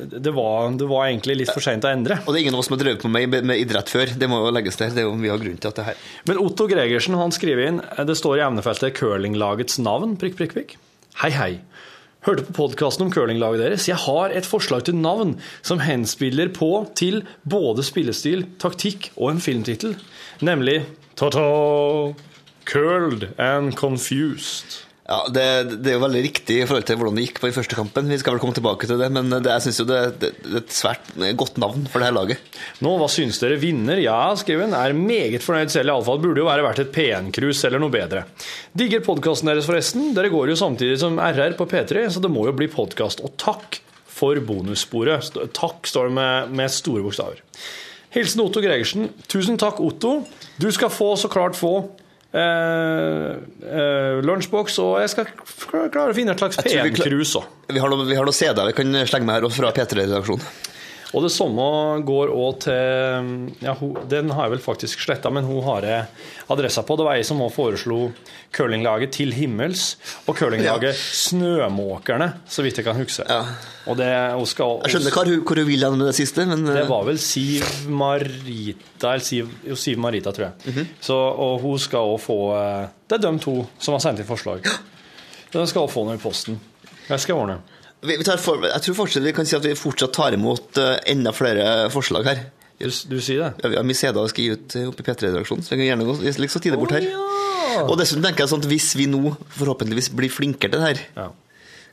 S10: det, det, var, det var egentlig litt for seint å endre.
S11: Og det er ingen av oss som har drevet på med, med idrett før. Det må jo legges til. Det er jo mye av grunnen til at det her
S10: Men Otto Gregersen han skriver inn eh, Det står i emnefeltet 'curlinglagets navn'. prikk, prikk, prikk. Hei, hei. Hørte på podkasten om curlinglaget deres. Jeg har et forslag til navn som henspiller på til både spillestil, taktikk og en filmtittel, nemlig Ta-ta! Curled and confused.
S11: Ja, det, det er jo veldig riktig i forhold til hvordan det gikk på den første kampen. Vi skal vel komme tilbake til det, men det, jeg syns jo det, det, det er et svært godt navn for det her laget.
S10: Nå, hva syns dere? Vinner? Ja, skriver hun. Er meget fornøyd selv, iallfall. Burde jo være verdt et P1-krus eller noe bedre. Digger podkasten deres, forresten. Dere går jo samtidig som RR på P3, så det må jo bli podkast. Og takk for bonussporet. St- Takk står det med, med store bokstaver. Hilsen Otto Gregersen. Tusen takk, Otto. Du skal få, så klart få, eh, eh, lunsjboks, og jeg skal f- klare å finne et slags
S11: Jeg tror vi kla-
S10: PM-krus òg.
S11: eh, Vi har noen noe CD-er vi kan slenge med her også fra P3-redaksjonen.
S10: Og det samme går òg til ja, hun, Den har jeg vel faktisk sletta, men hun har jeg adressa på. Det var ei som òg foreslo curlinglaget Til himmels og curlinglaget Snømåkerne, så vidt jeg kan huske. Og det, hun skal,
S11: Jeg skjønner hvor, hun- hvor hun vil hen med det siste, men
S10: det var vel Siv Marita, eller Siv, jo, Siv Marita, tror jeg.
S11: Mhm.
S10: så, og hun skal òg få eh, Det er de to som har sendt inn forslag. De skal òg få noe i posten. Jeg skal ordne.
S11: eh, vi, vi tar for, Jeg tror fortsatt vi kan si at vi fortsatt tar imot eh, enda flere forslag her.
S10: Du, sier det?
S11: Ja, vi har mye CD-er vi skal gi ut eh, oppe i P3-redaksjonen, så vi kan gjerne gå litt så tidlig bort her. Og dessuten tenker jeg sånn at hvis vi nå forhåpentligvis blir flinkere til det her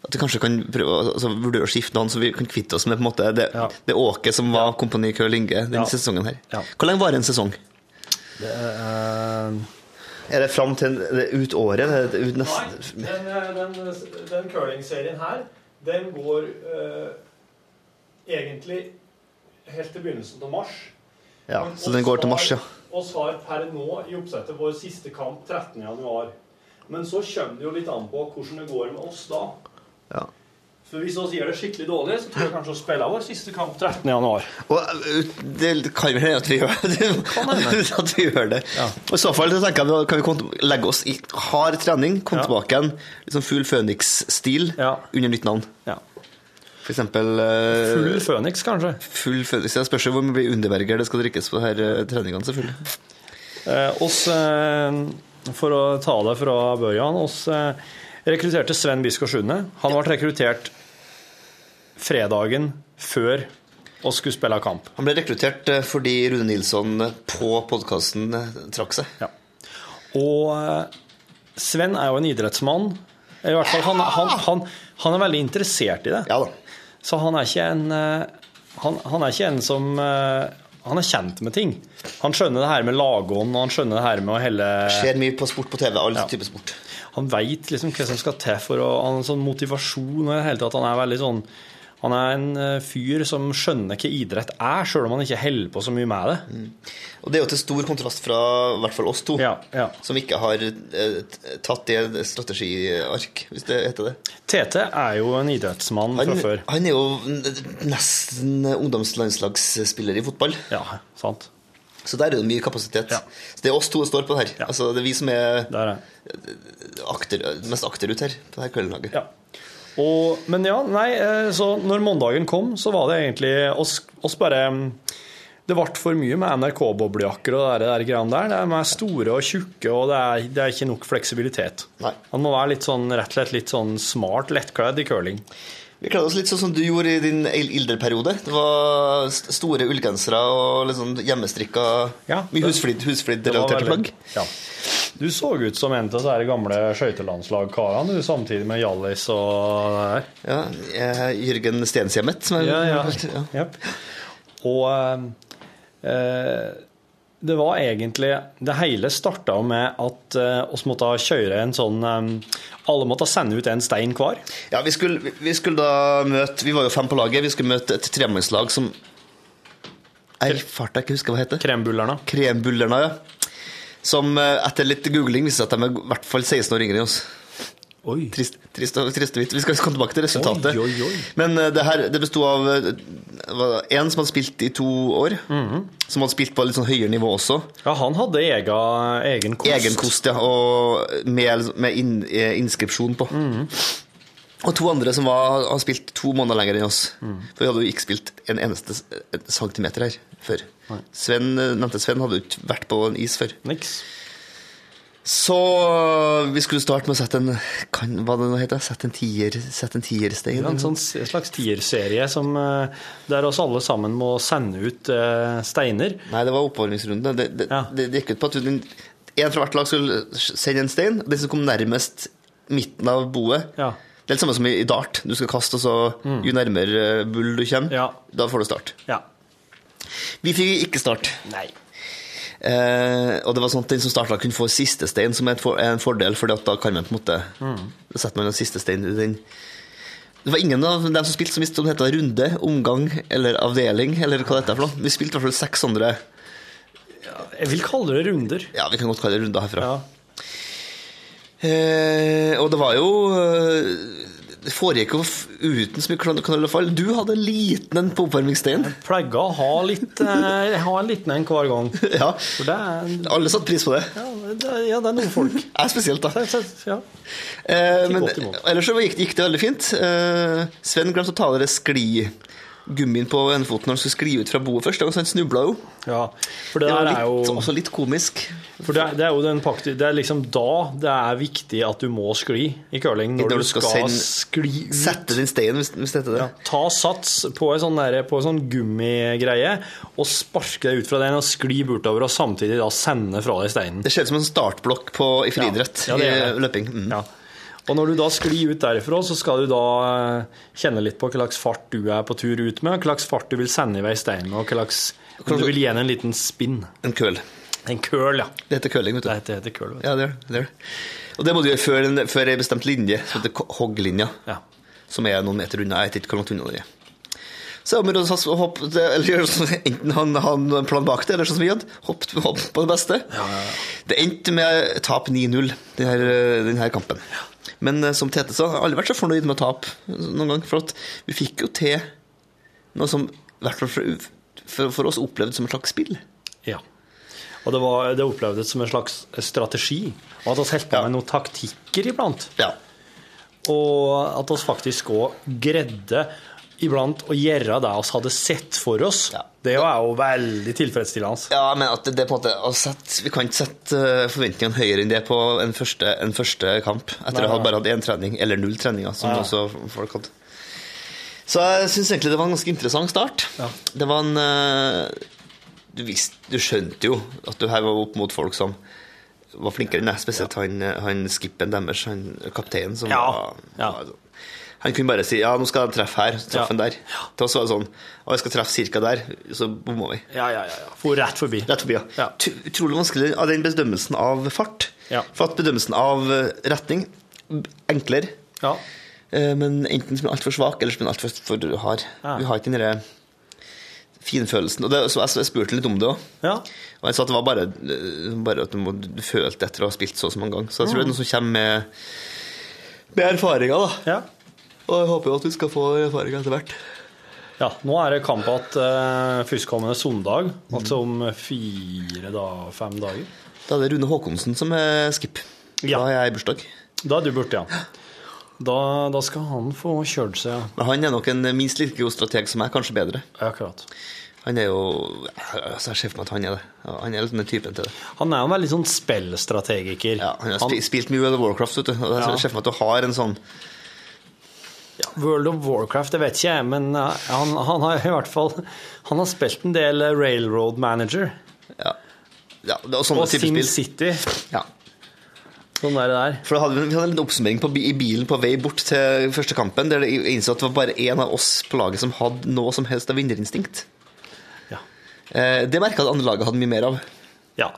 S11: At vi kanskje kan prøve å- altså, vurdere å skifte navn, så vi kan kvitte oss med på en måte det, det åket som var Kompani Kø Linge denne
S10: Ja.
S11: sesongen her. Hvor lenge varer en sesong?
S10: Det er
S11: eh, Er det fram til det er ut året? Det er ut neste
S10: Den, den, den curlingserien her, den går eh, egentlig helt til begynnelsen av mars.
S11: Ja,
S10: Men
S11: så den går til mars, ja.
S10: Og svar per nå i oppsettet vår siste kamp 13. januar. Men så kommer det jo litt an på hvordan det går med oss da.
S11: Ja.
S10: For hvis vi gjør det skikkelig dårlig, så tror jeg kanskje vi spiller vår siste kamp 13. januar.
S11: Og eh, det kan vel hende at vi gjør
S10: Sånn
S11: (laughs) det. at vi gjør det. Og I så fall så tenker jeg, da kan vi komme til- legge oss i hard trening, komme tilbake igjen liksom full Føniks-stil under nytt navn. For eksempel eh,
S10: Full Føniks, kanskje?
S11: Full Føniks, ja. Spørs jo hvor mye underberger det skal drikkes på de her eh, treningene, selvfølgelig.
S10: Eh, oss, eh, for å ta det fra børjan, oss eh, rekrutterte Sven Biskår Sunde. Han ble rekruttert fredagen før oss skulle spille kamp.
S11: Han ble rekruttert eh, fordi Rune Nilsson eh, på podkasten trakk seg.
S10: Ja. Og eh, Sven er jo en idrettsmann. I hvert fall, han, han, han, han er veldig interessert i det. Så han er ikke en eh, han, han er ikke en som eh, Han er kjent med ting. Han skjønner det her med lagånd, og han skjønner det her med å helle
S11: Ser mye på sport på TV. All type sport.
S10: Han veit liksom hva som skal til for å Han har en sånn motivasjon og i det hele tatt. Han er veldig sånn han er en eh, fyr som skjønner hva idrett er, sjøl om han ikke holder på så mye med det.
S11: Og det er jo til stor kontrast fra i hvert fall oss to, som ikke har eh, t- tatt det strategiark, hvis det heter det.
S10: Tete er jo en idrettsmann fra
S11: Han,
S10: før.
S11: han er jo n- nesten ungdomslandslagsspiller i fotball.
S10: Ja, sant.
S11: Så der er det mye kapasitet. Så det er oss to som står på det her. Altså, det er vi som er, akter, mest akterut her på det her kveldslaget.
S10: Og, men ja, nei, eh, så når mandagen kom, så var det egentlig oss, oss bare mm, Det ble for mye med NRK-boblejakker og det der, det der greiene der. Det er med store og tjukke, og det er, det er ikke nok fleksibilitet. Han må være litt sånn, rett og slett litt sånn smart, lettkledd i curling.
S11: Vi kledde oss litt sånn som du gjorde i din il- ilderperiode. Det var st- store ullgensere og litt sånn hjemmestrikka Mye husflid,
S10: Det var
S11: husflid-relaterte
S10: veldig-
S11: plagg.
S10: Ja. Du så ut som en av disse gamle skøytelandslagkarene, du, samtidig med Hjallis og det her.
S11: Ja, eh, Jørgen Stenshjemmet. som er-
S10: Ja, ja. Jep. Og eh, eh, det var egentlig Det hele starta jo med at eh, oss måtte kjøre en sånn eh, Alle måtte sende ut en stein hver.
S11: Ja, vi skulle, vi- vi skulle da møte Vi var jo fem på laget. Vi skulle møte et tremannslag som Jeg farta ikke husker hva det heter.
S10: Krembullerna.
S11: Krembullerna, ja. Som eh, etter litt googling viste at de er i hvert fall 16 år yngre enn oss.
S10: Oi.
S11: Trist, trist, og- trist og vidt. Vi skal komme tilbake til resultatet.
S10: Oi, oi, oi.
S11: Men eh, det her det besto av én som hadde spilt i to år.
S10: Mhm.
S11: Som hadde spilt på litt sånn høyere nivå også.
S10: Ja, han hadde ega, egen kost.
S11: Egen kost, ja. Og med, med inn, eh, inskripsjon på.
S10: Mhm.
S11: Og to andre som var, har spilt to måneder lenger enn oss.
S10: Mhm.
S11: For vi hadde jo ikke spilt en eneste s- en centimeter her før. Sven, eh, nevnte Sven hadde jo ikke vært på en is før.
S10: Niks.
S11: Så øh, vi skulle starte med å sette en kan, Hva det nå heter Sette en tier Sette en tierstein.
S10: Det var en sånn s- en slags tierserie som, eh, der oss alle sammen må sende ut eh, steiner.
S11: Nei, det var oppvarmingsrunde. Det, det, det, det gikk ut på at den, en fra hvert lag skulle sende en stein. og Den som kom nærmest midten av boet Det er det samme som i, i dart. Du skal kaste, og så jo nærmere eh, bull du kommer, da får du start. Vi fikk ikke start. Eh, og det var sånn at den som starta, kunne få siste stein, som er et for, er en fordel, for da kan man på en måte Da setter man den siste steinen i den. Det var ingen av dem som spilte som visste om det het runde, omgang eller avdeling. eller hva dette er for noe. Vi spilte i hvert fall 600
S10: Jeg vil kalle det runder.
S11: Ja, vi kan godt kalle det runder herfra. Eh, og det var jo eh, Det foregikk jo f- uten så mye klan- kanal og fall. Du hadde en liten en på oppvarmingssteinen.
S10: Pleier å ha, litt, eh, jeg har en liten en hver gang.
S11: (laughs) Ja.
S10: For det er,
S11: Alle satte pris på det.
S10: ja, det, ja, det er noen folk. (laughs)
S11: Jeg spesielt, da.
S10: Ja.
S11: Eh, men
S10: godt imot.
S11: ellers så gikk, gikk det veldig fint. Eh, Sven glemte å ta av det skligummien på ene foten når han skulle skli ut fra boet først. Så han snubla jo.
S10: Ja, for det,
S11: var
S10: der
S11: litt,
S10: er jo
S11: også litt komisk.
S10: For det, er- det er jo den pakti, Det er liksom da det er viktig at du må skli i curling. Når du skal, skli ut.
S11: Sette din stein, hvis, hvis det heter det.
S10: ta sats på en sånn, derre- på en sånn gummigreie og sparke deg ut fra den og skli bortover og samtidig da sende fra deg steinen.
S11: Det ser ut som en startblokk på, i friidrett.
S10: Ja, det er
S11: i
S10: det.
S11: løping. Mm.
S10: Ja. Og når du da sklir ut derifra, så skal du da eh, kjenne litt på hva slags fart du er på tur ut med, hva slags fart du vil sende i vei steinen, og hva slags om du vil gi den en liten spinn.
S11: En køl.
S10: En køl, ja.
S11: Det heter curling, vet du.
S10: Det heter køl, vet du.
S11: Ja, det gjør det, det. gjør det. Og det må du gjøre før, en- før ei bestemt linje, som heter ko- hogglinja. Som er noen meter unna. Jeg vet ikke hvor langt unna det er. Så jeg må råde sats- hopp, det- eller gjøre sånn- enten han han en plan bak det, eller sånn som vi hadde. Hopp, hopp på det beste. Det endte med tap 9-0, den her, den her kampen. Men eh, som Tete sa, jeg har aldri vært så fornøyd med å tape noen gang. For at vi fikk jo til noe som, i hvert fall for, for, for oss, opplevdes som et slags spill.
S10: Ja. Og det, var, det opplevdes som en slags strategi. Og at vi holdt på med noen taktikker iblant. Og at vi faktisk òg greide iblant å gjøre det vi hadde sett for oss. Det er jo veldig tilfredsstillende.
S11: Ja, men at det, det på en måte å sette, Vi kan ikke sette eh, forventningene høyere enn det på en første, en første kamp. Etter
S10: Nei,
S11: å ha
S10: nei.
S11: bare hatt én trening, eller null treninger, som
S10: Ja.
S11: også folk hadde. Så jeg syns egentlig det var en ganske interessant start. Det var en eh, du, visste, du skjønte jo at du her var opp mot folk som var flinkere enn deg. Spesielt han, han skippen deres, han kapteinen som var, var sånn- Han kunne bare si 'ja, nå skal jeg treffe her', så traff
S10: Ja.
S11: han der. Til oss var det sånn 'å, jeg skal treffe cirka der', så bomma vi.
S10: Ja, ja, ja, ja. For rett forbi.
S11: Rett forbi, ja. Tu- Utrolig vanskelig av den bedømmelsen av fart. For at bedømmelsen av eh, retning b- enklere. Eh, Men enten som er altfor svak, eller som er altfor for hard.
S10: Ja.
S11: Vi har ikke den derre finfølelsen. Og det, så jeg, så jeg spurte litt om det òg. Og jeg sa at det var bare, eh, bare at du, må, du følte etter å ha spilt så og så mange ganger. Så jeg tror det er noe som kommer med, med erfaringer, da. Og jeg håper jo at vi skal få erfaringer etter hvert.
S10: Ja, nå er det kamp igjen uh, førstkommende søndag,
S11: Mm.
S10: altså om fire, da, fem dager.
S11: Da er det Rune Håkonsen som er skip. Da har jeg bursdag.
S10: Da er du borte, ja. Da, da skal han få kjørt seg, ja.
S11: Men han er nok en minst like god strateg som meg, kanskje bedre.
S10: Akkurat.
S11: Han er jo altså Jeg ser for meg at han er det. Ja, Han er litt den typen til det.
S10: Han er jo en veldig sånn spillstrategiker. Ja,
S11: Han har spi- spilt mye World of Warcraft, vet du. Og jeg
S10: Ja.
S11: ser for meg at du har en sånn
S10: World of Warcraft, det vet ikke jeg, men eh, han, han har i hvert fall Han har spilt en del eh, Railroad Manager.
S11: Ja. ja det er sånne
S10: Og
S11: type spill.
S10: SimCity.
S11: Ja.
S10: Sånn er det der.
S11: For da hadde vi, vi hadde en liten oppsummering på, bi- i bilen på vei bort til første kampen, der det innså at det var bare én av oss på laget som hadde noe som helst av vinnerinstinkt. Eh, Det merka jeg at andre laget hadde mye mer av.
S10: Ja.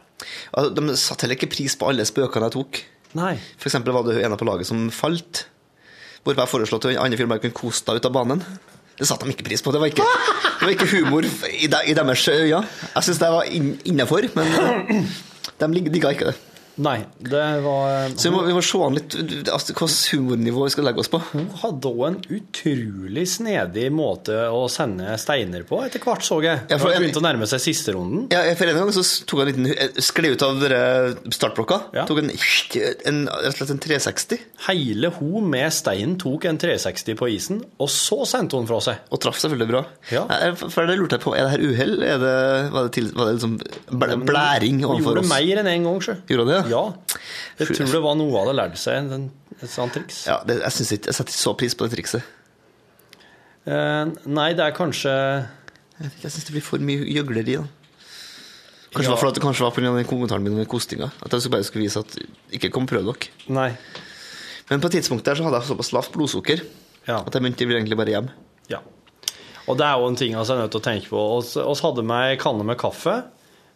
S11: Altså, De satte heller ikke pris på alle spøkene jeg tok.
S10: Nei.
S11: For eksempel var det en på laget som falt, hvorpå jeg foreslo at andre firmaer kunne kose deg ut av banen. Det satte de ikke pris på. Det var ikke, det var ikke humor i, de, i deres øyne. Jeg syns det var in, innafor, men eh, de lig- digga ikke det.
S10: Nei, det var
S11: Så vi må, vi må se an litt altså, hvilket humornivå vi skal legge oss på.
S10: Hun hadde òg en utrolig snedig måte å sende steiner på, etter hvert, så jeg.
S11: Ja,
S10: Når
S11: for
S10: det
S11: en-
S10: begynte å nærme seg siste runden.
S11: Ja, for en gang så tok jeg en liten jeg Skled ut av dere startblokka. Tok en, en, rett og slett en 360.
S10: Hele hun med steinen tok en 360 på isen, og så sendte hun fra seg.
S11: Og traff selvfølgelig bra.
S10: Ja.
S11: Jeg- For det lurte jeg på, Er det her uhell? Er det- Var det, til, var det liksom blæ- blæring
S10: Hun
S11: overfor
S10: gjorde
S11: oss?
S10: mer enn én gang, sjø.
S11: Gjorde det?
S10: Ja. Jeg tror det var noe hun hadde lært seg, en- et sånt triks.
S11: Ja, det, jeg, synes ikke, jeg setter ikke så pris på det trikset.
S10: Eh, nei, det er kanskje
S11: Jeg, vet ikke, jeg syns det blir for mye gjøgleri. da.
S10: Ja.
S11: Kanskje det var fordi- kanskje det var pga. kommentaren min med kostinga. At jeg skulle- bare skulle vise at ikke kom prøv dere.
S10: Nei.
S11: Men på et tidspunkt der så hadde jeg såpass lavt blodsukker at jeg begynte egentlig bare hjem.
S10: Ja. Og det er jo en ting altså, jeg er nødt til å tenke på. Oss, oss hadde med ei kanne med kaffe.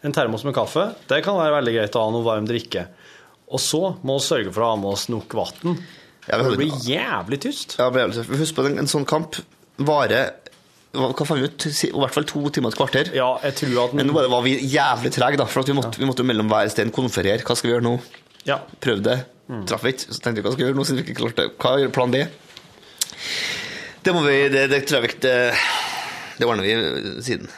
S10: En termos med kaffe. Det kan være veldig greit å ha noe varm drikke. Og så må vi sørge for å ha med oss nok vann.
S11: Ja, vi hadde-
S10: Det blir jævlig tyst.
S11: Ja, det ble jævlig tyst. Husk på at en, en sånn kamp varer hva hva fant vi ut? Si- I hvert fall to timer og et kvarter.
S10: Ja, jeg tror at
S11: Men nå bare var vi jævlig trege, da. For at vi måtte, vi måtte jo mellom hver stein konferere. Hva skal vi gjøre nå?
S10: Ja.
S11: Prøv det. Traff ikke. Så tenkte vi hva skal vi gjøre nå, siden vi ikke klarte det. Hva er plan B? Det må vi Det, det tror jeg vi ikke det- Det ordner vi siden.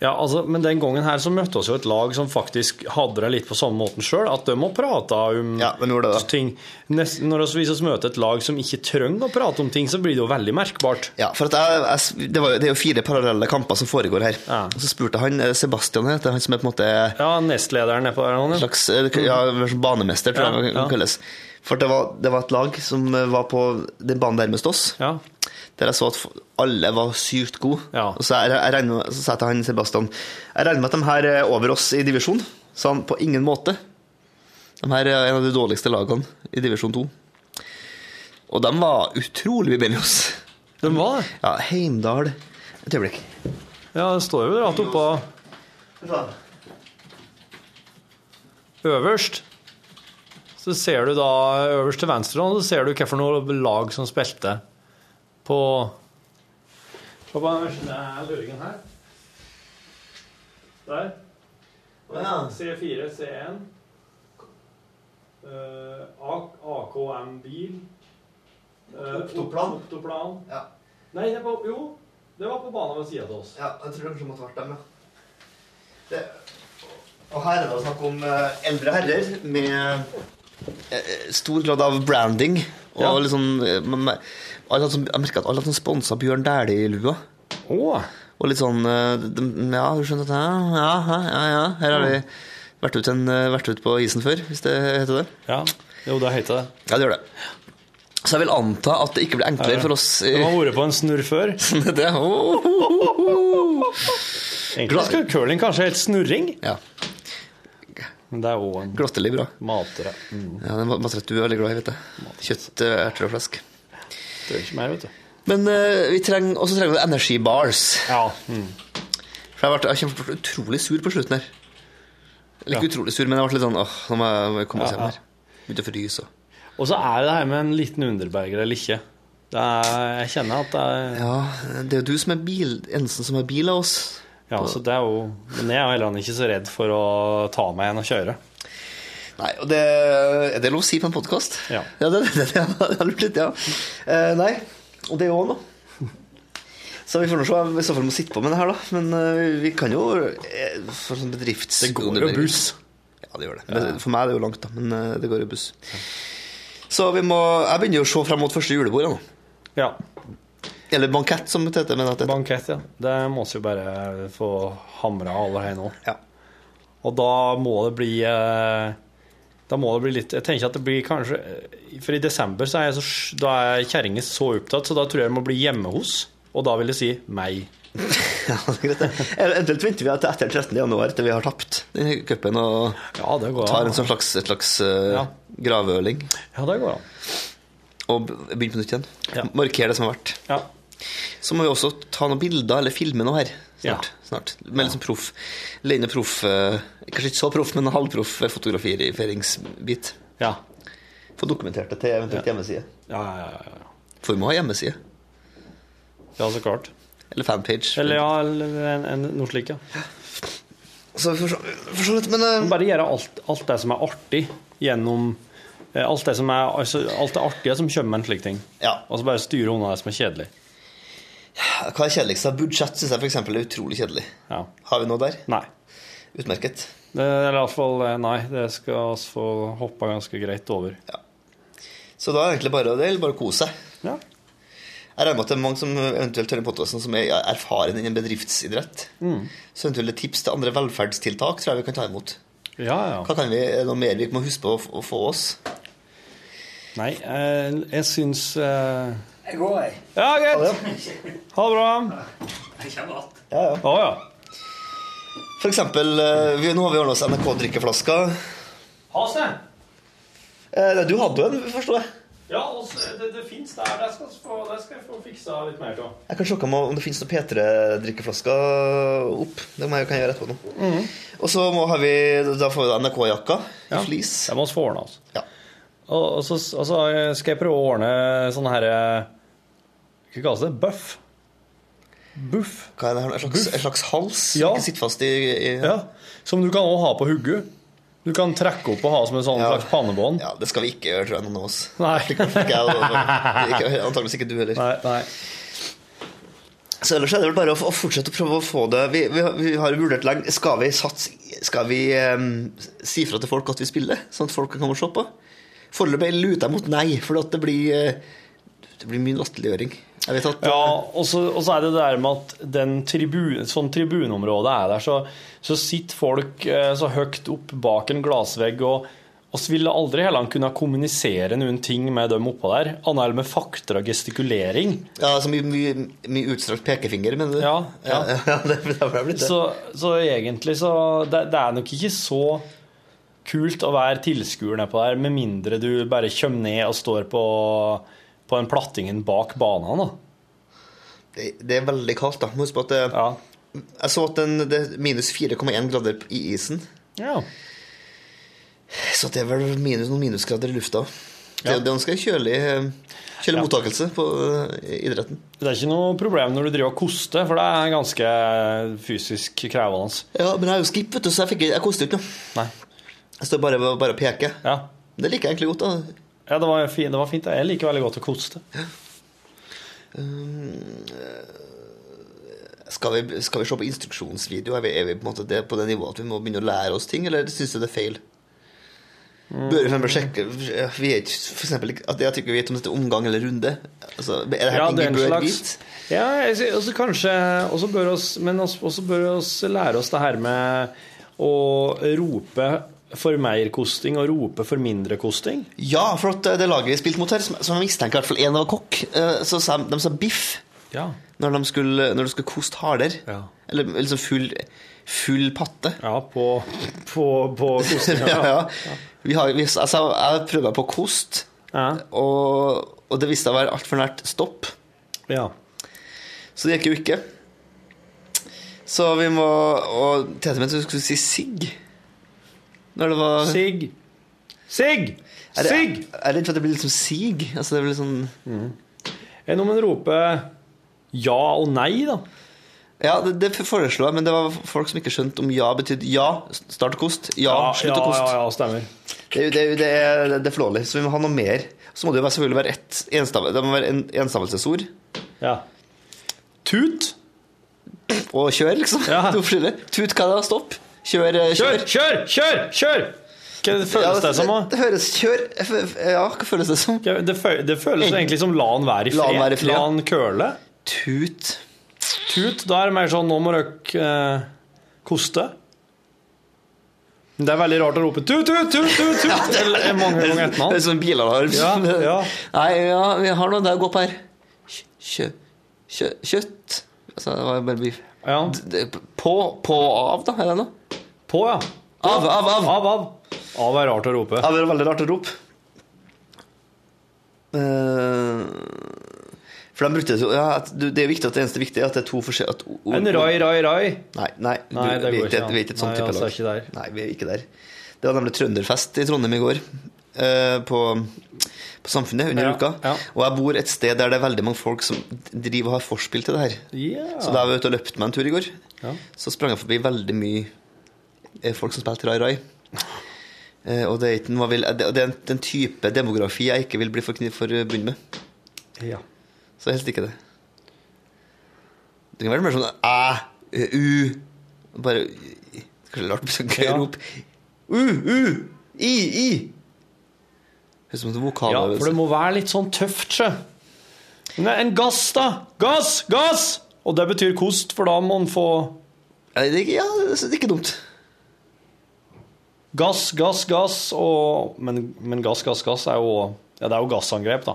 S10: Ja, altså, men den gangen her så møtte oss jo et lag som faktisk hadde det litt på samme måten sjøl, at de må prate om ting. Nest, når vi hvis vi møter et lag som ikke trenger å prate om ting, så blir det jo veldig merkbart.
S11: Ja, for at jeg, jeg, det, var, jo- det er jo fire parallelle kamper som foregår her. Og så spurte han eh, Sebastian, heter han som er på en måte
S10: Ja, nestlederen er på der. Han,
S11: ja. Slags, eh, ja, sånn banemester, tror
S10: Mm. Ja,
S11: jeg
S10: ja.
S11: han kalles. For det var, det var et lag som eh, var på den banen nærmest oss, der jeg så at f- alle var sykt gode. Og så, jeg, jeg regner, så sa jeg til han Sebastian Jeg regner med at de her er over oss i divisjon, sa han på ingen måte. De her er en av de dårligste lagene i divisjon 2. Og de var utrolig mye bedre enn oss.
S10: De var det?
S11: Ja, Heimdal Et øyeblikk.
S10: Ja, det står jo rett oppå Øverst så ser du da øverst til venstre nå, så ser du hvilket lag som spilte på Se på den verste luringen her. Der. C4, C1. Eh, A- AKM bil. Eh,
S11: Oktoplan.
S10: Oktoplan. Nei, det var, jo, det var på banen ved sida av oss.
S11: Ja, jeg tror det kanskje måtte vært dem, ja. Det, og her er det snakk om eh, eldre herrer med eh, stor grad av branding. Og
S10: Ja.
S11: liksom, eh, man, mer- alle hadde sånn, jeg merka at alle hadde sånn sponsa Bjørn Dæhlie-lua. Og litt sånn eh, de- Ja, du skjønner at ja, ja, ja, ja. Her har vi vært ut, en, eh, vært ut på isen før, hvis det heter det.
S10: Ja, jo, det heter det.
S11: Ja, det gjør det. Så jeg vil anta at det ikke blir enklere for oss i-
S10: De har vært på en snurr før.
S11: (laughs) det, oh, oh, oh, oh.
S10: Egentlig skal curling kanskje helt snurring.
S11: Ja.
S10: Men det er òg en
S11: Glattelig bra.
S10: matere. Mm.
S11: Ja, det er matrett du er veldig glad i, vet jeg. Kjøtt, eh, erter og flesk.
S10: Det er ikke mer, vet du.
S11: Men eh, vi trenger, også trenger vi energibars.
S10: Ja. mm.
S11: For jeg, ble, jeg kjempe- ble utrolig sur på slutten her. Eller ikke
S10: Ja.
S11: utrolig sur, men jeg ble litt sånn åh, nå må jeg- må jeg komme
S10: Ja,
S11: oss hjem
S10: ja.
S11: her. Begynte å fryse og
S10: Og så er det det her med en liten underberger eller ikke. Det er, jeg kjenner at det er
S11: Ja, det er jo du som er bil, eneste som har bil av oss.
S10: Ja, så det er jo Men jeg er jo heller ikke så redd for å ta meg igjen og kjøre.
S11: Nei, og det, er det lov å si på en podkast?
S10: Ja.
S11: Ja, det er det, (laughs) det, jeg har lurt litt, ja. Eh, nei, og det er jo
S10: (laughs)
S11: òg noe. Så vi får nå se om vi i så fall må sitte på med det her, da. Men eh, vi kan jo eh, For sånn bedrifts...
S10: Det går jo buss.
S11: Ja, det gjør det. Men det- For meg er det jo langt, da. Men eh, det går jo buss. Så vi må Jeg begynner jo å se frem mot første julebord nå.
S10: Ja.
S11: Eller bankett, som det heter. Men at det, (laughs)
S10: Bankett, ja. Det må vi jo bare få hamra alle her nå.
S11: Ja.
S10: Og da må det bli eh, Da må det bli litt Jeg tenker at det blir kanskje For i desember så er, jeg så, sj- da er kjerringa så opptatt, så da tror jeg det må bli hjemme hos. Og da vil jeg si meg.
S11: Eller Eventuelt venter vi til etter 13. januar til vi har tapt denne cupen og
S10: går
S11: tar
S10: an,
S11: en
S10: da.
S11: sånn slags, et slags eh,
S10: Ja.
S11: gravøling.
S10: Ja, det går an.
S11: Og be- begynne på nytt igjen. Markere det som har vært. Så må vi også ta noen bilder eller filme noe her snart. snart. Med litt sånn proff. Lene proff eh, Kanskje ikke så proff, men halvproff eh, fotograferingsbit.
S10: Ja.
S11: Få dokumentert det til eventuelt hjemmeside.
S10: Ja, ja, ja, ja.
S11: For vi må ha hjemmeside.
S10: Ja, så klart.
S11: Eller fanpage.
S10: Eller ja, eller en, en, noe slikt, ja.
S11: Så for så for så vidt, men eh,
S10: Bare gjøre alt, alt det som er artig, gjennom eh, Alt det som er altså, Alt det artige som kommer med en slik ting. Og så bare styre unna det som er kjedelig.
S11: Hva er kjedeligst? da? Budsjett syns jeg f.eks. er utrolig kjedelig. Har vi noe der?
S10: Nei.
S11: Utmerket.
S10: Det er iallfall eh, Nei, det skal vi få hoppa ganske greit over.
S11: Så da er det egentlig bare, det gjelder bare å kose seg. Jeg regner med at det er mange som eventuelt hører på podcasten som er erfaren innen bedriftsidrett.
S10: Mm.
S11: Så eventuelle tips til andre velferdstiltak tror jeg vi kan ta imot.
S10: Ja, ja.
S11: Hva kan vi, er det noe mer vi må huske på å, f- å få oss?
S10: Nei, eh, jeg syns eh,
S3: Jeg går, jeg.
S10: Ja, greit. Ha det bra.
S3: Jeg kommer alt.
S11: Ja, ja. For eksempel, eh, vi, nå har vi ordnet oss NRK-drikkeflasker.
S10: Ha det.
S11: Eh, nei, du hadde jo en, forstår jeg.
S10: Ja, og så- det, det fins der. Det skal, vi få- det skal jeg få fiksa litt mer av.
S11: Jeg kan sjokke om det finnes noen P3-drikkeflasker opp. Det må jeg, kan jeg gjøre etterpå nå. Og så må, har vi, da får vi da NRK-jakka i flis.
S10: Det må vi få ordna oss.
S11: Ja.
S10: Og, og, så, og så skal jeg prøve å ordne sånn her eh, Hva kalles det? Buff? Buff.
S11: Hva er det her? En slags, en slags hals?
S10: Ja.
S11: Ikke sitte fast i, i
S10: Ja. Som du kan også ha på hodet. Du kan trekke opp og ha som en sånn
S11: Ja.
S10: slags pannebånd.
S11: Ja, det skal vi ikke gjøre, tror jeg, noen av oss.
S10: Nei.
S11: Ikke, ikke jeg, og- og- ikke, antageligvis ikke du heller.
S10: Nei,
S11: Så ellers er det vel bare å, f- å fortsette å prøve å få det Vi, vi, har- vi har jo vurdert lenge Skal vi, sats, skal vi ehm, si fra til folk at vi spiller, sånn at folk kan komme og se på? Foreløpig luter jeg mot nei, for at det blir, eh, det blir mye latterliggjøring. Jeg vet at
S10: Ja, og så, og så er det det der med at den tribun, sånn tribunområdet er der, så, så sitter folk eh, så høyt opp bak en glassvegg, og oss ville aldri heller kunne kommunisere noen ting med dem oppå der, annet enn med fakter og gestikulering.
S11: Ja, så mye, mye, mye utstrakt pekefinger, mener du?
S10: Ja,
S11: ja. (laughs) ja, det, det ble blitt det.
S10: Så, så egentlig så det, det er nok ikke så kult å være tilskuer nedpå der, med mindre du bare kommer ned og står på, på den plattingen bak banen, da.
S11: det, det er veldig kaldt, da. Må huske på at det, Jeg så at den, det er minus 4,1 grader i isen.
S10: Ja.
S11: Så det er vel minus, noen minusgrader i lufta. Det det er en ganske kjølig, eh, kjølig
S10: Ja.
S11: mottakelse på eh, idretten.
S10: Det er ikke noe problem når du driver og koster, for det er ganske fysisk krevende.
S11: Ja, men jeg er jo skip, vet du, så jeg, fikk, jeg koste jo ikke noe.
S10: Nei.
S11: Jeg står bare bare og peker.
S10: Ja.
S11: Det liker jeg egentlig godt. da.
S10: Ja, det var, fint, det var fint. Jeg liker veldig godt å koste.
S11: Um, eh, skal, vi, skal vi se på instruksjonsvideo? Er vi, er vi på, en måte det, på det nivået at vi må begynne å lære oss ting, eller syns du det er feil?
S10: Mm.
S11: Bør vi for eksempel sjekke Vi vet for eksempel ikke- at jeg tykker vi vet om dette er omgang eller runde. Altså, er det her
S10: Ja,
S11: ting
S10: det er en
S11: vi bør
S10: slags-
S11: vite?
S10: Ja, jeg sy- også kanskje også bør oss, Men oss- også bør vi oss lære oss det her med å rope for mer kosting og rope for mindre kosting.
S11: Ja, for at eh, det laget vi spilte mot her, som som jeg mistenker i hvert fall én var kokk, eh, så sa de, de sa biff
S10: Ja.
S11: når de skulle, når de skulle koste harder. Eller liksom full, full patte.
S10: Ja, på, på, på kostinga,
S11: ja,
S10: ja.
S11: ja. Vi har, vi, altså, jeg prøvde meg på kost, og, og det viste seg å være altfor nært stopp.
S10: (laughs) Ja.
S11: Så det gikk jo ikke. Så vi må Og Tete mente vi skulle si sigg. Når det var
S10: Sigg! Sigg!
S11: Er det-
S10: Sigg!
S11: Jeg er redd for at det blir litt som sig. Altså, det blir litt sånn
S10: Enn om en roper ja og nei, da?
S11: Ja, det, det foreslo jeg, men det var folk som ikke skjønte om ja betydde ja, start kost, ja, slutt å
S10: ja,
S11: kost.
S10: ja, ja, stemmer.
S11: Det, er jo- det, er jo- det, er- det er flålig, så vi må ha noe mer. Så må det jo være- selvfølgelig være ett enstav, det må være en enstavelsesord.
S10: Ja. Tut.
S11: Og kjør, liksom. To forskjellige. Tut, hva er det? da? Stopp. Kjør, eh, kjør.
S10: Kjør, kjør, kjør! kjør! Hva føles
S11: Ja,
S10: det som, da?
S11: Det høres kjør f- f- Ja, hva føles det som?
S10: Det, fø- det føles jo egentlig som la han være i
S11: La
S10: fred.
S11: han være i fred,
S10: La
S11: ja.
S10: han køle.
S11: Tut.
S10: Tut. Da er det mer sånn nå må dere eh, koste. Men Det er veldig rart å rope tut, tut, tut, tut, tut eller mange ganger etter
S11: Det er
S10: hverandre.
S11: sånn bilalarm.
S10: Ja, ja.
S11: (laughs) Nei, ja, vi har noe der å gå på her. Kjø, kjø, kjøtt Altså, det var jo bare beef. D- d- På, på av, da? Er det noe?
S10: På, ja.
S11: Av, av, av.
S10: Av, av. Av er rart å rope.
S11: Av er veldig rart å rope. Eh, for de brukte det så- ja, at du- Det er viktig at det eneste viktige er at det er to forskjellige at ord-
S10: En rai, rai, rai.
S11: Nei, nei,
S10: Nei,
S11: du,
S10: det
S11: vi
S10: går ikke
S11: er ikke et- vi er ikke et sånt
S10: an.
S11: type
S10: Nei, altså,
S11: lag.
S10: ikke der.
S11: Nei, vi er ikke der. Det var nemlig trønderfest i Trondheim i går. eh, På, på Samfunnet under
S10: Ja,
S11: uka. Og jeg bor et sted der det er veldig mange folk som driver og har forspill til det her.
S10: Ja.
S11: Så da jeg var ute og løpte meg en tur i går,
S10: Ja.
S11: så sprang jeg forbi veldig mye eh, folk som spilte Rai Rai. Eh, Og det er, ikke noe jeg vil, det det er en- det er en type demografi jeg ikke vil bli forkni- forbundet med.
S10: Ja.
S11: Så helst ikke det. Det kan være mer sånn æ, u Bare Kanskje rart med sånn gøy
S10: Ja.
S11: rop. U, u, i, i. Høres ut som en sånn
S10: Ja,
S11: vokaløvelse.
S10: for det må være litt sånn tøft, sjø. Nei, en gass, da! Gass! Gass! Og det betyr kost, for da må en få
S11: Ja, det er ikke, ja, det er ikke dumt.
S10: Gass, gass, gass og Men, men gass, gass, gass er jo Ja, det er jo gassangrep, da.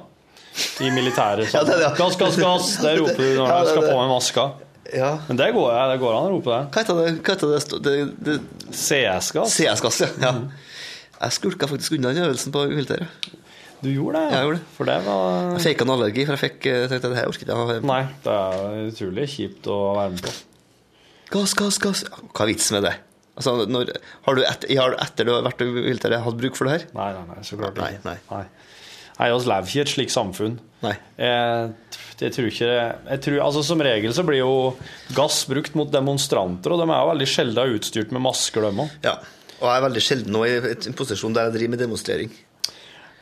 S10: I militæret.
S11: (laughs) Ja, det er det, ja.
S10: Gass, gass, gass! Det roper du når
S11: (laughs) Ja,
S10: du
S11: det er
S10: skal
S11: det.
S10: på med maska.
S11: Ja.
S10: Men det går, ja, det går an å rope det.
S11: Hva heter det? Hva heter det? sto- det, det
S10: CS-gass.
S11: CS-gass, ja. ja. Jeg skulka faktisk unna den øvelsen på militæret.
S10: Du gjorde det?
S11: Ja, jeg gjorde det.
S10: For det var
S11: Jeg faka en allergi, for jeg fikk eh, tenkte at det her orket jeg ikke.
S10: Nei, det er utrolig kjipt å være med på.
S11: Gass, gass, gass. Hva er vitsen med det? Altså, når, har, du et, har du etter du har vært viltere, hatt bruk for det her?
S10: Nei, nei, nei så klart ikke. Nei, nei. Nei, oss lever ikke i et slikt samfunn.
S11: Nei.
S10: Jeg, jeg tror ikke jeg tror, altså Som regel så blir jo gass brukt mot demonstranter, og de er jo veldig sjelden utstyrt med masker, de òg.
S11: Ja. Og jeg er veldig sjelden nå i en posisjon der jeg driver med demonstrering.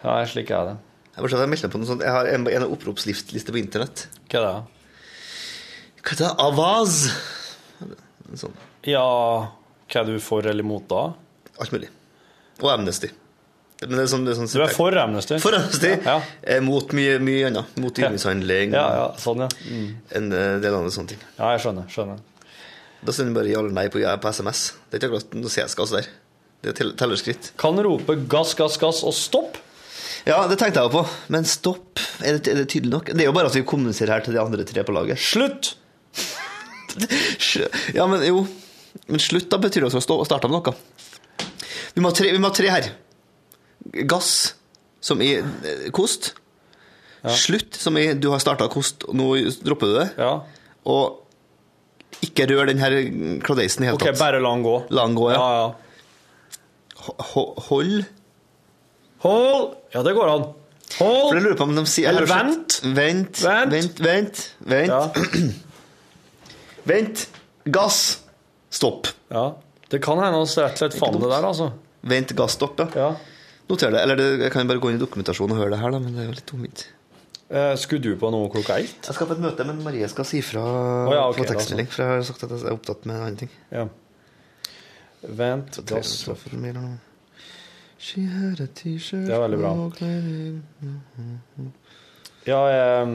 S10: Ja, slik er det.
S11: Jeg, forstår, at jeg, meldte meg på noe sånt. jeg har en, en oppropsliste på internett.
S10: Hva er det?
S11: Hva er det? Avaz? Sånn.
S10: Ja Hva er du for eller imot da?
S11: Alt mulig. Og Amnesty. Men det er sånn, det er sånn
S10: Du er for Amnesty?
S11: For Amnesty. Eh, Mot mye, mye annet. Mot dyremishandling.
S10: Ja, ja, sånn, ja.
S11: En eh, del andre sånne ting.
S10: Ja, jeg skjønner. skjønner.
S11: Da sender du bare ja eller nei på, eh, på SMS. Det er ikke akkurat noe CS-gass der. Det er tell- tellerskritt.
S10: Kan rope 'gass, gass, gass' og 'stopp'?
S11: Ja, det tenkte jeg jo på. Men stopp, er det, er det tydelig nok? Det er jo bare at vi kommuniserer her til de andre tre på laget.
S10: Slutt!
S11: (laughs) ja, men jo. Men slutt, da betyr det også å stå- å starte med noe. Vi må ha tre, vi må ha tre her. Gass, som i eh, kost. Slutt, som i du har starta kost, og nå dropper du det. Og ikke rør den her kladeisen i hele
S10: Ok,
S11: tatt.
S10: bare la den gå.
S11: La den gå, ja. Ho- ho- Hold.
S10: Hold! Ja, det går an. Hold!
S11: For jeg lurer på om de sier
S10: Eller
S11: Eller vent. Vent, vent, vent. Vent. vent. Gass. Stopp.
S10: Ja. Det kan hende oss rett og slett fant det der, altså.
S11: Vent, gass, stopp, ja. Noter det. Eller det, jeg kan jo bare gå inn i dokumentasjonen og høre det her, da, men det er jo litt tungvint.
S10: Eh, skulle du på noe klokka ett?
S11: Jeg skal på et møte, men Marie skal si fra
S10: Å ja, ok,
S11: på
S10: da,
S11: tekstmelding, for jeg har sagt at jeg er opptatt med en annen ting.
S10: Ja. Vent, gass
S11: She had a t-shirt
S10: Det er veldig bra.
S11: og klær-
S10: Ja, jeg,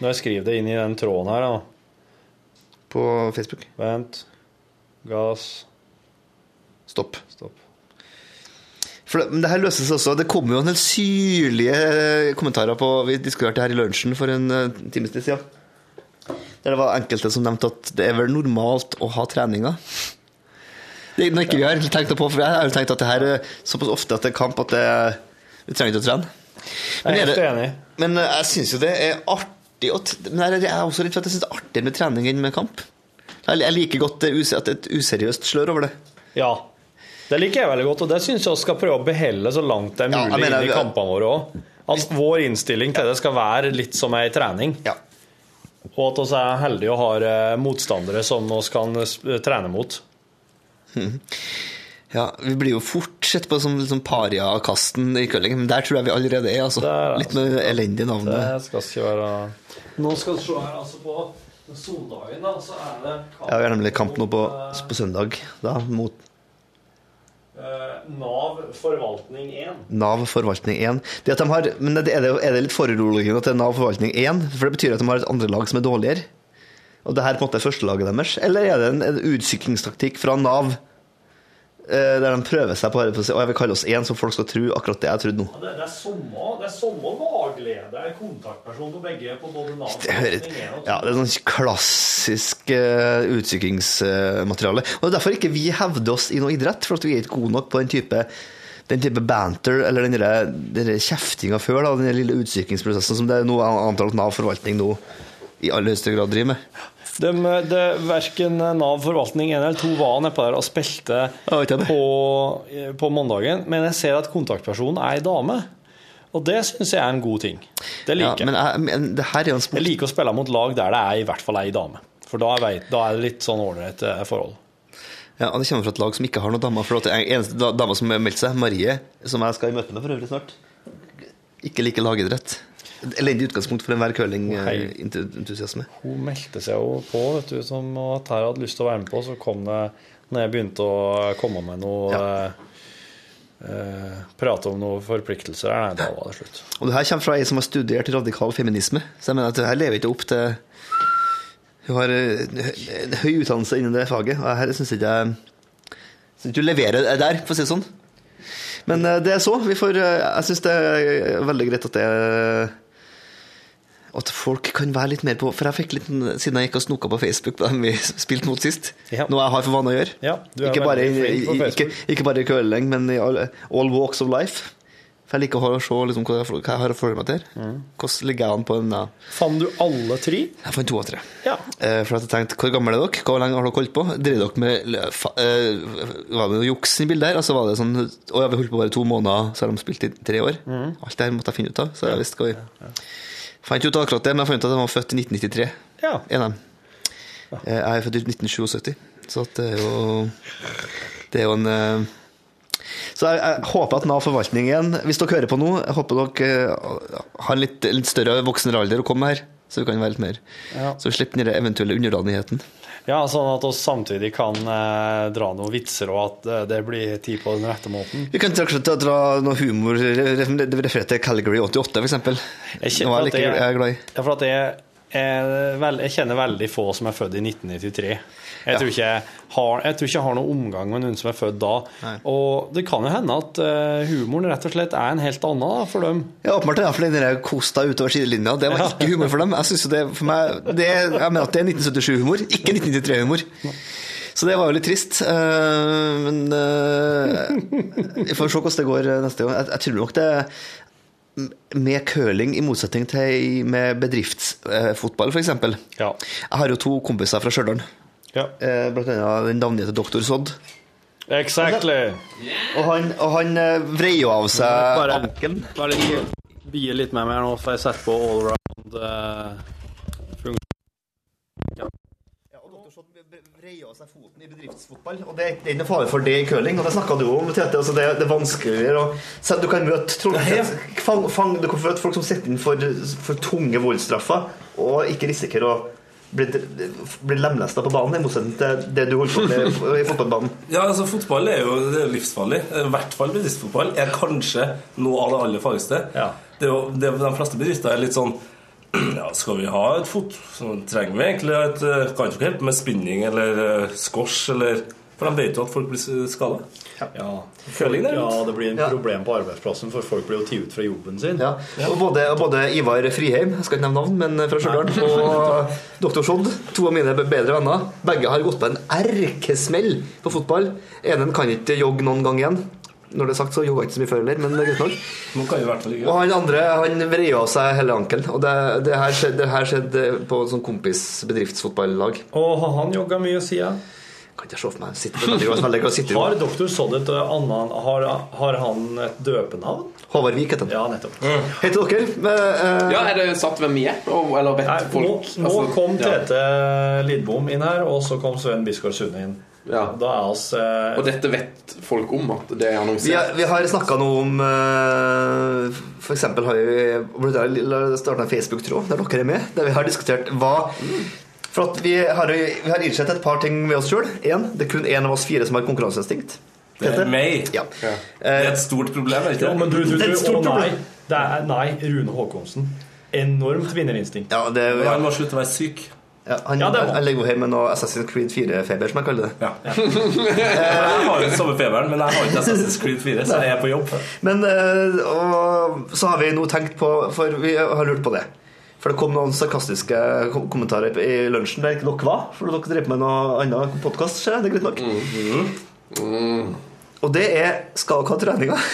S10: når jeg skriver det inn i den tråden her, da
S11: På Facebook?
S10: Vent. Gass.
S11: Stopp.
S10: Stopp.
S11: For det, men det her løses også. Det kommer jo en del syrlige eh, kommentarer på Vi diskuterte her i lunsjen for en eh, times tid siden. Der det var enkelte som nevnte at det er vel normalt å ha treninger. Det er noe ikke vi har tenkt på, for jeg har jo tenkt at det her er såpass ofte at det er kamp at det, vi trenger ikke å trene.
S10: Jeg er
S11: det-
S10: helt enig.
S11: Men eh, jeg syns jo det er artig å t- Men jeg er også redd for at jeg syns det er artigere med trening enn med kamp. Jeg jeg liker godt det use- at det er et useriøst slør over det.
S10: Ja. Det liker jeg veldig godt, og det syns jeg vi skal prøve å beholde så langt det er
S11: Ja, jeg
S10: mulig
S11: mener-
S10: inn i kampene våre òg. At vår innstilling til det skal være litt som ei trening. Og at vi er heldige og har eh, motstandere som vi kan eh, sp- trene mot.
S11: Mhm. Ja, vi blir jo fort sett på som liksom paria-kasten i curling, men der tror jeg vi allerede er. Altså. Litt med det elendige
S10: Det
S11: navnet.
S10: skal ikke være Nå skal vi se her, altså, på soldagen, da, så er det kamp
S11: Ja, vi har nemlig kamp nå på, på søndag, da, mot
S10: eh, Nav forvaltning 1.
S11: Nav forvaltning 1. Det at de har, men er det, er det litt foruroligende at det er Nav forvaltning 1? For det betyr at de har et andre lag som er dårligere? Og det her på en måte er førstelaget deres? Eller er det en, en utsyklingstaktikk fra Nav? eh, Der de prøver seg på å si «Å, jeg vil kalle oss én, så folk skal tro akkurat det jeg trodde nå.
S10: Ja, Det, det er samme det er samme lagleder, kontaktperson på begge på både Nav
S11: Det hører
S10: forvaltning 1 og
S11: Ja, det er sånn klassisk uh, utsyklingsmateriale. Og det er derfor ikke vi hevder oss i noe idrett, for at vi er ikke gode nok på den type den type banter eller den derre- den derre kjeftinga før, da, den der lille utsykingsprosessen som det er noe antar at Nav forvaltning nå i aller høyeste grad driver med.
S10: De, de, verken Nav forvaltning 1 eller 2 var nedpå der og spilte på, eh, på mandagen. Men jeg ser at kontaktpersonen er ei dame. Og det syns jeg er en god ting. Det liker
S11: men jeg. Men det her er jo en
S10: jeg liker å spille mot lag der det er i hvert fall ei dame. For da, vet, da er det litt sånn ålreit eh, forhold.
S11: Ja, og Det kommer fra et lag som ikke har noen damer. For at den eneste da- dama som har meldt seg, Marie, som jeg skal i møte med for øvrig snart, ikke liker lagidrett. Et Elendig utgangspunkt for enhver eh,
S10: Hei.
S11: curlingentusiasme.
S10: Hun meldte seg jo på vet du, som at her hadde lyst til å være med på, så kom det når jeg begynte å komme med noe eh, eh, Prate om noen forpliktelser her, nei, da var det slutt.
S11: Og det her kommer fra ei som har studert radikal feminisme. Så jeg mener at det her lever ikke opp til Hun har eh, hø- en høy utdannelse innen det faget, og her syns ikke jeg synes ikke hun leverer det der, for å si det sånn. Men eh, det er så. Vi får, eh, jeg syns det er veldig greit at det at folk kan være litt mer på For jeg fikk litt Siden jeg gikk og snoka på Facebook på dem vi spilte mot sist, noe jeg har for vane å gjøre
S10: Ja, du er
S11: Ikke bare,
S10: veldig
S11: i-
S10: flink på
S11: i- ikke, ikke bare i curling, men i all, all walks of life For jeg liker å ha- å se liksom, hva, jeg, hva jeg har å følge meg til. Hvordan ligger jeg an på en ja.
S10: Mm. Fant du alle tre?
S11: Jeg fant to av tre. Eh, for at jeg tenkte, hvor gamle er dere? Hvor lenge har dere holdt på? Drev dere med lø- fa- eh, Var det noe juks i bildet her? Altså var det sånn Å ja, vi holdt på bare to måneder, så har de spilt i tre år.
S10: Mhm.
S11: Alt det her måtte jeg finne ut av. Så jeg visste hva vi Fant ut akkurat det, men jeg fant ut at de var født i 1993.
S10: Ja.
S11: En av dem. Eh, Jeg er født i 1977, så at det er jo Det er jo en eh, så jeg, jeg håper at Nav Forvaltning igjen, hvis dere hører på nå, jeg håper dere eh, har en litt, litt større voksnere alder å komme her, så vi kan være litt mer.
S10: Ja.
S11: Så vi slipper den der eventuelle underdanigheten.
S10: Ja, sånn at vi samtidig kan eh, dra noen vitser, og at eh, det blir tid på den rette måten.
S11: Vi kan kanskje ta- dra noe humor, referere til Calgary 88 for eksempel.
S10: Jeg
S11: Nå
S10: kjenner
S11: er jeg,
S10: at
S11: like, jeg er glad i.
S10: jeg, ja, for at jeg, er vel- jeg kjenner veldig få som er født i 1993. Jeg, tror ikke jeg, har, jeg tror ikke jeg har noen omgang med noen som er født da. Og det kan jo hende at eh, humoren rett og slett er en helt annen da, for dem.
S11: Ja, åpenbart ja, for den der kosta utover sidelinja, det var ikke humor for dem. Jeg synes jo det, for meg, det, er- jeg mener at det er 1977-humor, ikke 1993-humor. Så det var jo litt trist, eh, men eh, vi får se hvordan det går eh, neste gang. Jeg, jeg tror nok det med curling, i motsetning til i- med bedriftsfotball, f.eks.
S10: Ja.
S11: Jeg har jo to kompiser fra Stjørdal, Eh, blant annet den navngitte doktor Sodd.
S10: Exactly.
S11: Og han, og han eh, vrei jo av seg
S10: Bare-
S11: ankelen.
S10: Bare bie litt med meg her nå, for jeg setter på eh, allround funksjon.
S11: foten i bedriftsfotball, og det, er- det er ikke noe fare for det i curling. Og det snakka du jo om, Tete. Altså det, det er vanskeligere å så Du kan møte Trond- fang, fang, du kan møte folk som sitter inn for, for tunge voldsstraffer, og ikke risikere å bli, bli lemlesta på banen, i motsetning til det du holder på med i fotballbanen.
S12: Ja, altså Fotball er jo det er jo livsfarlig. I hvert fall bedriftsfotball er kanskje noe av det aller farligste. Det er jo, det, de fleste bedrifter er litt sånn ja, Skal vi ha et fot... Så trenger vi egentlig et eh, Kan ikke hjelpe med spinning eller eh, squash eller For de vet jo at folk blir skada.
S10: Ja.
S12: Curling,
S10: ja,
S12: derimot.
S10: det blir en
S12: Ja.
S10: problem på arbeidsplassen, for folk blir jo tatt ut fra jobben sin.
S11: Ja. Og både, og både Ivar Friheim, jeg skal ikke nevne navn, men fra Stjørdal, og Dr. Sodd, to av mine bedre venner, begge har gått på en erkesmell på fotball. Enen kan ikke jogge noen gang igjen. Når det er sagt, så jogga jeg ikke så mye før heller, men det er greit nok. Og han andre han vrei av seg hele ankelen. Og det, det her skjedde, det her skjedde på et sånn kompis bedriftsfotballag.
S10: Og har han jogga mye siden?
S11: Kan ikke se for meg. Sitter veldig godt, veldig godt sitter jo.
S10: Har doktor Sodd et eh, annet har, har han et døpenavn?
S11: Håvard Vik heter han.
S10: Ja, nettopp.
S11: Heter dere? Eh,
S13: Ja, er det satt hvem vi er? Og- Eller vet
S10: Nå,
S13: folk
S10: nå
S13: altså,
S10: kom
S13: ja.
S10: Tete Lidbom inn her, og så kom Sven Biskår Sunde inn. Da er oss eh,
S13: Og dette vet folk om at det er
S11: Vi, har-
S13: annonsert?
S11: vi har snakka noe om eh, For eksempel har vi starta en Facebook-tråd der dere er med, der vi har diskutert hva For at vi har, vi har innsett et par ting ved oss sjøl. Én, det er kun én av oss fire som har konkurranseinstinkt.
S12: Det
S11: Tete?
S12: er meg.
S11: Ja. Eh,
S12: Det er et stort problem. er det
S10: Jo,
S12: ikke
S10: men du, du,
S12: det er
S10: du,
S12: et stort
S10: å nei,
S12: problem.
S10: det er, nei, Rune Håkonsen. Enormt vinnerinstinkt.
S11: Ja, det,
S10: ja.
S12: Han må slutte å være syk.
S11: Ja, han,
S10: Ja, det var-
S11: han legger jo hjemme med noe Assassin's Creed 4-feber, som jeg kaller det.
S12: Jeg har jo samme feberen, men jeg har ikke Assassin's Creed 4, så jeg er på jobb.
S11: Men eh, og, så har vi nå tenkt på For vi har lurt på det. For det kom noen sarkastiske kom- kommentarer i lunsjen der ikke dere var. For dere driver med noe annet podkast, ser jeg. Det er greit nok. Og det er Skal dere ha treninga? (laughs)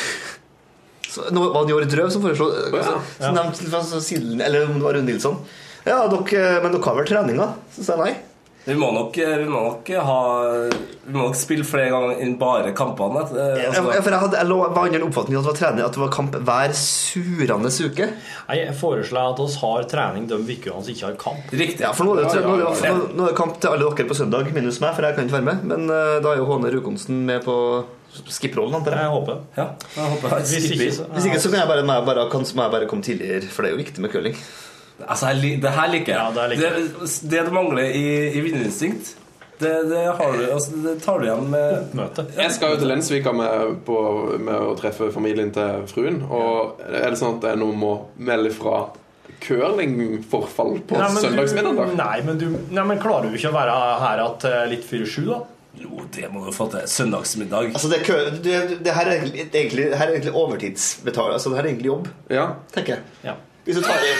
S11: Så, nå var det Jord Drøv som foreslo så, så nevnte fra siden, Eller om det var Rune Nilsson. Ja, dere, men dere har vel treninga? Så sa jeg nei.
S12: Vi må nok, eh, vi må nok ha Vi må nok spille flere ganger enn bare kampene. eh,
S11: Jeg, jeg,
S12: Altså,
S11: for jeg, hadde, jeg lå, var under den oppfatningen at det var trening At det var kamp hver surende uke.
S10: Nei, Jeg foreslår at oss har trening de ukene vi ikke har kamp.
S12: Riktig.
S11: Ja, for nå er det, nå er det, nå er det, nå er det kamp til alle dere på søndag, minus meg, for jeg kan ikke være med. Men eh, da er jo Håne Rukonsen med på skipprollen, antar jeg.
S10: Jeg håper
S12: ja, jeg håper jeg
S11: Hvis ikke,
S12: skipper.
S11: hvis ikke så kan jeg bare, må jeg bare, kan, så må jeg bare komme tidligere, for det er jo viktig med curling.
S12: Altså, jeg li- det her liker jeg. det, det, du mangler i, i vinnerinstinkt, det, det, har du, altså, det tar du igjen med
S13: Jeg skal jo til Lensvika med, Eh, på, med å treffe familien til fruen. Og er det sånn at jeg nå må melde fra curlingforfall på
S10: Nei, men du-
S13: søndagsmiddag?
S10: Nei, men du Nei, men klarer du ikke å være her at eh, litt før sju, da?
S12: Jo, det må du få til. Søndagsmiddag.
S11: Altså, det, er kø, det, det her, er egentlig, det her er egentlig overtidsbetaling. Altså, det her er egentlig jobb,
S13: Ja.
S11: tenker jeg.
S10: Ja.
S11: Hvis du tar i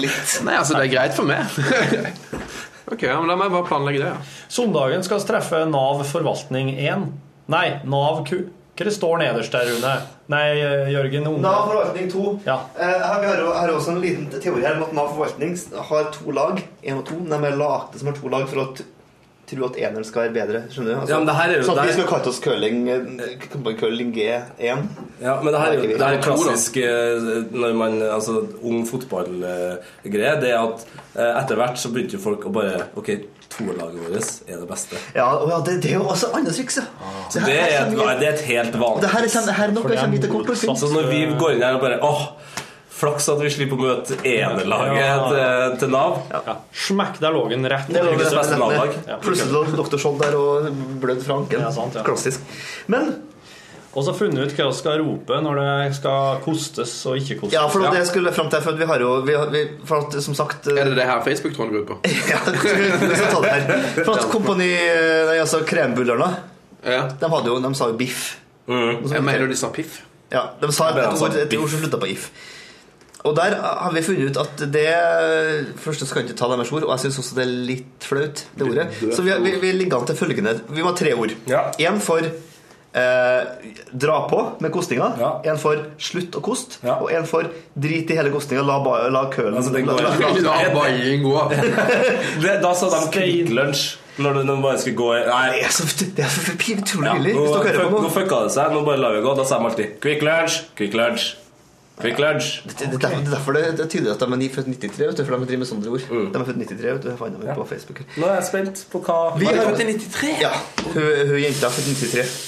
S11: litt
S13: Nei, altså, det er greit for meg. (laughs) ok, ja, men da må jeg bare planlegge det. ja.
S10: Søndagen skal vi treffe Nav forvaltning 1. Nei, Nav ku- Hva står nederst der, Rune? Nei, Jørgen Unge.
S11: Nav forvaltning 2.
S10: Ja.
S11: Eh, her- vi har, jo- har også en liten teori her om at Nav forvaltning har to lag. Én og to. men De er lagde som har to lag for å t- tro at eneren skal være bedre. Skjønner du?
S12: Ja, men det her er jo-
S11: sånn at
S12: det
S11: vi
S12: her-
S11: skulle kalt oss curling, eh, curling G1.
S12: Ja, men det her er jo det her er
S11: To, da.
S12: klassisk eh, når man, altså, ung fotballgreie. Det er at eh, etter hvert så begynte jo folk å bare Ok, toerlaget vårt er det beste.
S11: Ja, og ja det, det er jo også andre triks, ja.
S12: Så det er et, det er et helt vanlig
S11: Det her er, det her er noe jeg kommer til å komme
S12: Så når vi går inn her og bare Åh, flaks at vi slipper å møte enerlaget til, til Nav.
S10: Smekk der lågen rett
S11: Det lå
S12: Norges
S11: det
S12: beste Nav-lag. Ja.
S11: Plutselig lå Dr. Skjold der og blødd fra anken.
S10: Ja, sant, ja.
S11: Klassisk. Men
S10: Og så funnet ut hva vi skal rope når det skal kostes og ikke kostes.
S11: Ja, for det var det jeg skulle frem til For at vi har jo vi har, vi, for at, som sagt Er
S13: det det her Facebook-tråden går ut på?
S11: (laughs) ja, vi skal ta det her. For at kompani Nei, altså Krembullerne de, hadde jo, de sa jo biff.
S13: Mm. Jeg mener de sa piff.
S11: Ja, de sa et,
S13: Ja, de sa
S11: ord, et ord som slutta på if. Og der har vi funnet ut at det Først skal jeg ikke ta deres ord, og jeg syns også det er litt flaut, det ordet. Så vi, vi, vi ligger an til følgende Vi må ha tre ord. Én for eh, dra på med kostinga. Én for slutt å koste. Og én for drit i hele kostinga, la, ba- la kølen
S12: Altså, den går-
S11: la,
S12: La baiing
S13: gå.
S12: det, da sa de Kvikk Lunsj. Når du- når du bare skulle gå i Nei.
S11: Det er så, det er så utrolig
S12: Ja,
S11: billig.
S12: nå,
S11: hvis dere hører
S12: fuck,
S11: på nå.
S12: nå fucka det seg. Nå bare lar vi gå. Da sa de alltid Kvikk Lunsj, Kvikk Lunsj, Kvikk Lunsj.
S11: Det det er derfor- det er derfor det, det er tydelig at de er ni- født 93, vet du, for de driver med sånne ord. De er født 93, vet du. Jeg fant dem på Facebook.
S12: Nå er jeg spent på hva
S11: Vi
S12: Var det
S11: har-
S12: født i
S13: 93?
S11: Ja, hun, hun jenta er født 93.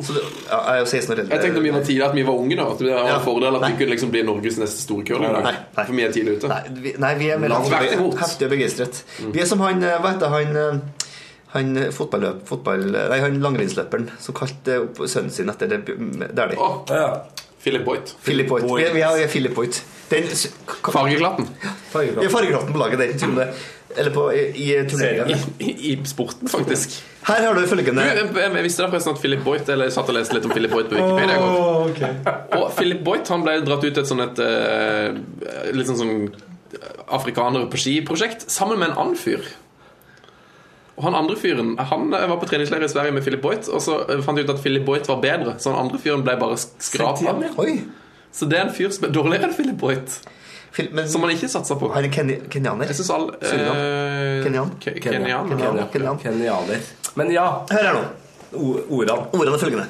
S11: Så det, ja, jeg er jo 16 år eldre.
S13: Jeg tenkte mye var tidlig at vi var unge da. At det var
S11: Ja.
S13: en fordel at vi kunne liksom bli Norges neste store curling.
S11: Nei,
S13: For vi er tidlig ute.
S11: Nei, vi, nei, vi er mer
S13: Langt vekk imot. Mm.
S11: heftig og begeistret. Vi er som han eh, Hva heter han eh, han eh, fotballøp, fotball, nei, han langrennsløperen som kalte eh, opp sønnen sin etter det mm, Dæhlie.
S13: Philip Boyt.
S11: Philip Boyt. Vi, er- vi er vi er Philip Boyt. Den s- k-
S13: Fargeklatten.
S11: Vi er fargeklatten på laget der. tror jeg. Eller på, i, i eh, turneringen.
S13: I, i sporten, faktisk.
S11: Her har du
S13: Du,
S11: følgende
S13: jeg, jeg visste da forresten at Philip Boyt Eller jeg satt og leste litt om Philip Boyt på Wikipedia. i går. (laughs) Og Philip Boyt han ble dratt ut til et sånn et eh, Litt sånn sånn afrikanere på ski-prosjekt sammen med en annen fyr. Og han andre fyren Han eh, var på treningsleir i Sverige med Philip Boyt, og så eh, fant de ut at Philip Boyt var bedre, så han andre fyren ble bare skrapa. Så det er en fyr som er dårligere enn Philip Boyt. som han ikke satsa på.
S11: Han er keni- kenyaner.
S13: Jeg synes alle eh,
S11: Kenyan.
S13: ke- Kenyan.
S11: Kenyan. Kenyan.
S12: Men ja.
S11: Hør her nå.
S12: Ordene.
S11: Ordene er følgende.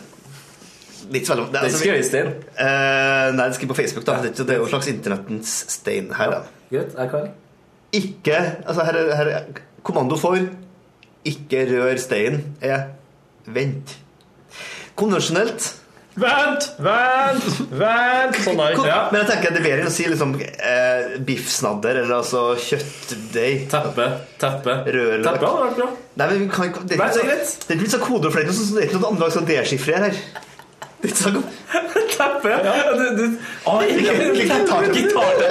S11: Litt veldig, det er
S12: Den
S11: altså-
S12: skrev i stein.
S11: Eh, nei, det skriver på Facebook. da Det er jo- Det er jo en slags internettens stein her. Da.
S12: Greit, jeg er klar.
S11: Ikke altså her, er- her, er- Kommando for 'ikke rør steinen' er 'vent'. Konvensjonelt
S10: Vent, vent, vent! Sånn er det ikke. Ja.
S11: Men jeg tenker det er bedre å si liksom eh, biffsnadder eller altså kjøttdeig.
S12: Teppe. Teppe.
S11: Rørløk.
S12: Teppe hadde vært bra.
S11: Nei, men vi kan ikke Det er
S12: Nei, det er
S11: ikke så- det er ikke så kode for det, sånn som det er ikke noe annet lag som deskifrer her. Det er ikke så
S12: Teppe. Du, du.
S11: Oi, gitar-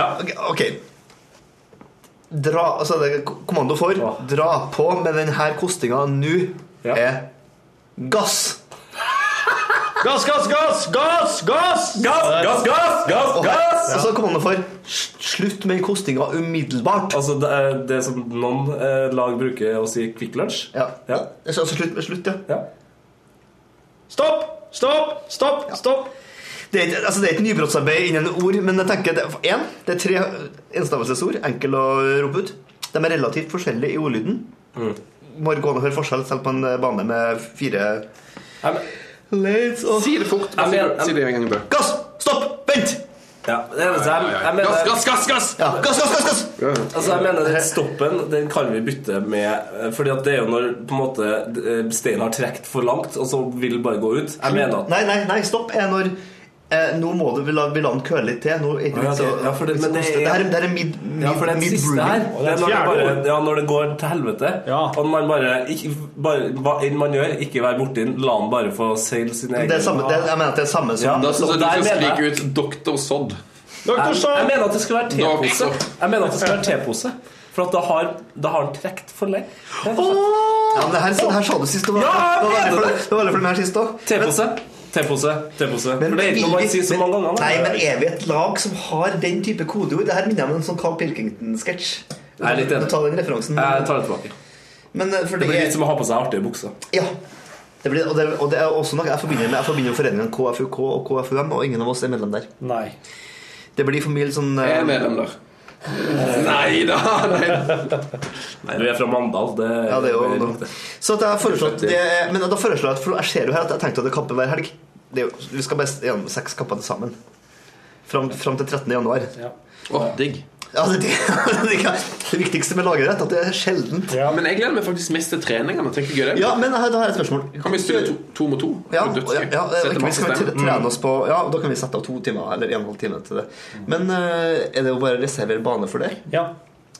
S12: Ja.
S11: Ok, ok. Dra, altså det er kommando for Dra på med denne kostinga nå er gass.
S10: Gass, gass, gass! Gass, gass!
S12: gass, gass, gass,
S11: Og-
S12: gass!
S11: Og så kommando for s- slutt med kostinga umiddelbart.
S12: Altså, det, er det som noen eh, lag bruker å si Kvikk Lunsj.
S11: Ja. Altså slutt med slutt, ja.
S10: Stopp! Stopp! Stopp! Stopp!
S11: Det er, ikke- altså det er et nybrottsarbeid innen ord, men jeg tenker det, en, det er tre enstavelsesord, enkel å rope ut. De er relativt forskjellige i ordlyden. Må gå an å høre forskjell selv på en eh, bane med fire Let's
S13: Si det fort.
S12: Jeg mener-
S13: Si det en gang i bø.
S11: Gass! Stopp! Vent!
S12: Ja, det er det som jeg, jeg mener
S13: Gass, gass, gass! gass!
S11: Ja, gass, gass, gass, gass!
S12: Altså, jeg mener den stoppen den kan vi bytte med eh, Fordi at det er jo når på en måte eh, steinen har trukket for langt, og så vil det bare gå ut. Jeg mener at
S11: Nei, nei, nei, stopp er når eh, Nå må du vi la, vi la den køle litt til. Nå er
S12: Ja,
S11: ikke så,
S12: det- ja, for det- men det er-
S11: det her, det her er mid, mid,
S12: Ja, for det er den
S11: mid
S12: siste her.
S11: brewing.
S12: Det er når det, bare, ja, når det går til helvete. Og man bare, ikke, bare Hva enn man gjør, ikke vær borti den. La den bare få seile sin egen
S11: Det er samme, det, er- jeg mener at det er samme som
S12: Ja,
S13: Da syns jeg
S12: Der
S13: du skal
S12: mener
S13: skrike ut Dr. Sodd.
S12: jeg, jeg mener at det skulle være
S13: Dr.
S12: tepose.
S13: Sodd.
S12: Jeg mener at det skulle være tepose. For at da har, da har den trukket for lenge.
S11: Ja, men det her, det her sa du sist. Det var,
S12: Ja, jeg
S11: det var veldig
S12: mener
S11: for
S12: det.
S11: det var veldig for den her sist òg.
S12: Tepose. Tepose. Tepose.
S11: Men
S12: For det er ikke
S11: vil
S12: noe
S11: vi-
S12: man sier så mange ganger. da.
S11: Nei, men er vi et lag som har den type kodeord? Det her minner meg om en sånn Carl Pilkington-sketsj.
S12: Jeg er litt enig.
S11: Du tar den referansen.
S12: Jeg tar det tilbake.
S11: Men eh, for
S12: Det
S11: det
S12: blir
S11: er
S12: litt som å ha på seg artige bukser.
S11: Ja. Det blir, og, det, og det er også noe jeg forbinder med Jeg forbinder jo foreningene KFUK og KFUM, og ingen av oss er medlem der.
S10: Nei.
S11: Det blir for mye litt sånn Jeg
S12: er medlem der. Nei da! Nei. nei, du er fra Mandal. Det,
S11: Ja, det er jo noe. Så at jeg har foreslått det, eh, Men da foreslår jeg at For jeg ser jo her at jeg tenkte at det er kamper hver helg. Det er jo, vi skal best gjennom seks kamper til sammen. Fram, fram til 13. januar.
S10: Ja.
S13: digg.
S11: Ja, det, (laughs) det, det viktigste med lagerrett er at det er sjeldent.
S13: Men jeg gleder meg faktisk mest til treningene. Tenker du det?
S11: Ja, men her, da har jeg et spørsmål.
S13: Kan vi spille to, to mot to?
S11: Ja,
S13: Det er
S11: og ja,
S13: dødsgøy.
S11: ja
S13: Sette
S11: ikke minst kan
S13: masse
S11: vi tre-
S13: stemmer.
S11: trene oss på Ja, og da kan vi sette av to timer eller en og en halv time til det. Men eh, er det jo bare å reservere bane for det?
S10: Ja.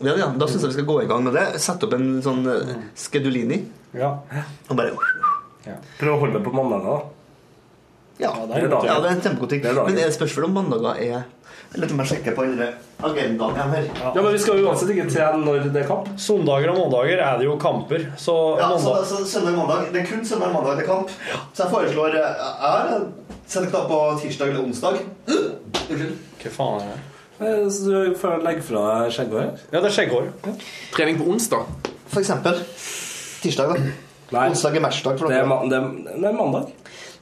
S11: ja, ja. Da syns jeg vi skal gå i gang med det. Sette opp en sånn eh, skedulini
S10: Ja.
S11: og bare
S12: Prøv å holde meg på mandagene, da.
S11: Ja,
S12: Ja,
S11: ja,
S12: det
S11: det
S12: er dagen.
S11: er en kjempegod ting.
S12: Det er dagen.
S11: Men er det spørsmål om mandager er Jeg lurer på om jeg sjekker på andre agendaen igjen her.
S10: Ja, men vi skal jo uansett ikke trene når det er kamp. Søndager og mandager er det jo kamper, så
S11: Ja, så,
S10: mandag
S11: så søndag mandag Det er kun søndag og mandag det er kamp. Så jeg foreslår eh, Jeg setter knapp på tirsdag eller onsdag. Unnskyld.
S10: Hva faen er det?
S12: Eh, Så du får legge fra deg skjegghåret.
S10: Ja, det er skjegghår.
S13: Trening på onsdag.
S11: For eksempel. Tirsdag, da. Onsdag er matchdag for dere.
S12: Det er, mandag.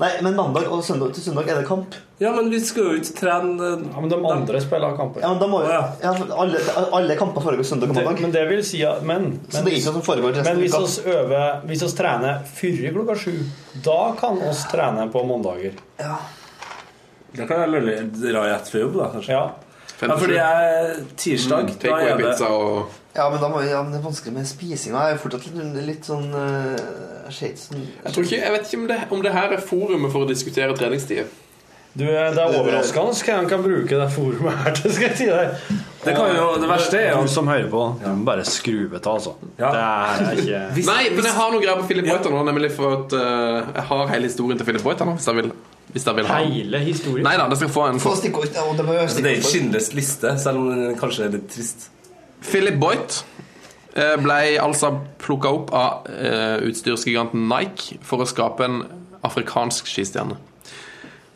S11: Nei, men mandag og søndag til søndag er det kamp.
S12: Ja, men vi skal jo ikke trene
S10: Ja, men de andre spiller kamper.
S11: Ja, men da må jo ja, for alle, alle kamper foregår søndag og
S10: Det,
S11: mandag.
S10: men det vil si at Men,
S11: Så det er ikke noe som foregår resten
S10: men hvis
S11: av uka.
S10: oss øver Hvis oss trener før klokka sju, da kan oss trene på mandager.
S12: Da kan jeg lulle dra i ett før jobb, da, kanskje.
S10: Ja.
S12: ja fordi jeg
S13: Mm,
S12: tirsdag da er det-
S11: Ja, men da må vi, ja, men det er vanskelig med spisinga. Jeg er fortsatt litt, litt sånn uh, sånn
S13: Jeg, tror ikke, jeg vet ikke om det, om det her er forumet for å diskutere treningstider.
S10: Du, det er overraskende hva de kan bruke det forumet her til. skal jeg si deg
S13: Det kan jo- det verste er jo-
S10: Du som hører på, du må bare skru av, altså. Det er
S13: (laughs)
S10: ikke
S13: Nei, men jeg har noe greier på Philip Boyton nå, nemlig for at eh, jeg har hele historien til Philip Boyton nå, hvis jeg vil, hvis jeg vil ha den.
S10: Hele historien?
S13: Nei da, det skal få en
S11: Få stikkord. Ja, og det må jo være
S12: Det er ikke
S11: stikkord.
S12: Schindlers liste, selv om den kanskje er litt trist.
S13: Philip Boyt eh, ble altså plukka opp av eh, utstyrsgiganten Nike for å skape en afrikansk skistjerne.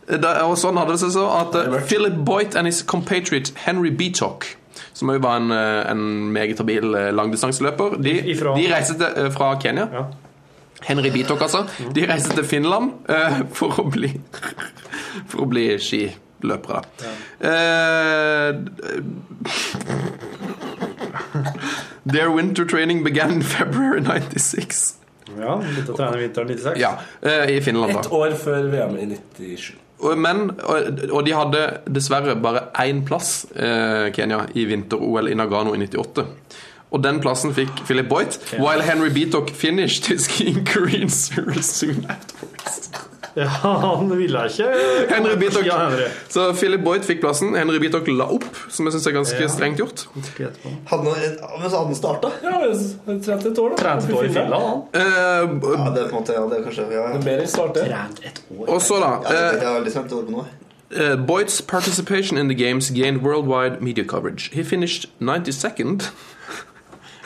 S13: Eh, da- Og sånn hadde det seg så at eh, Philip Boyt and his compatriot Henry Beachock, som òg var en, eh, en meget habil eh, langdistanseløper, de, de reiste til, eh, fra Kenya. Henry Beachock, altså.
S10: Mm.
S13: De reiste til Finland eh, for å bli For å bli skiløpere. Eh, Their winter training began in February 96.
S10: Ja, litt å trene vinteren 96.
S13: Ja, eh, I Finland,
S12: Ett
S13: da.
S12: år før VM i 97.
S13: Og- Men, og, og de hadde dessverre bare én plass, eh, Kenya, i vinter-OL i Nagano i 98. Og den plassen fikk Philip Boyt, while Henry Beatok finished his skiing career in Seoul soon afterwards.
S10: Ja, han ville ikke
S13: Henry Beatok.
S10: Ja, Henry.
S13: Så Philip Boyt fikk plassen. Henry Beatok la opp, som jeg syns er ganske
S10: Ja.
S13: strengt gjort.
S11: Hadde noe- eh, Men så hadde den starta.
S12: Ja, men 31 år, da.
S10: år i Finland, han.
S13: Eh,
S11: Ja, det er på en måte, ja, det er kanskje ja, ja.
S12: Mer enn start, det.
S13: Og så, da.
S11: Ja, det,
S13: eh,
S11: det, det er veldig spent å høre på nå.
S13: Uh, Boyd's participation in the games gained worldwide media coverage. He finished 92nd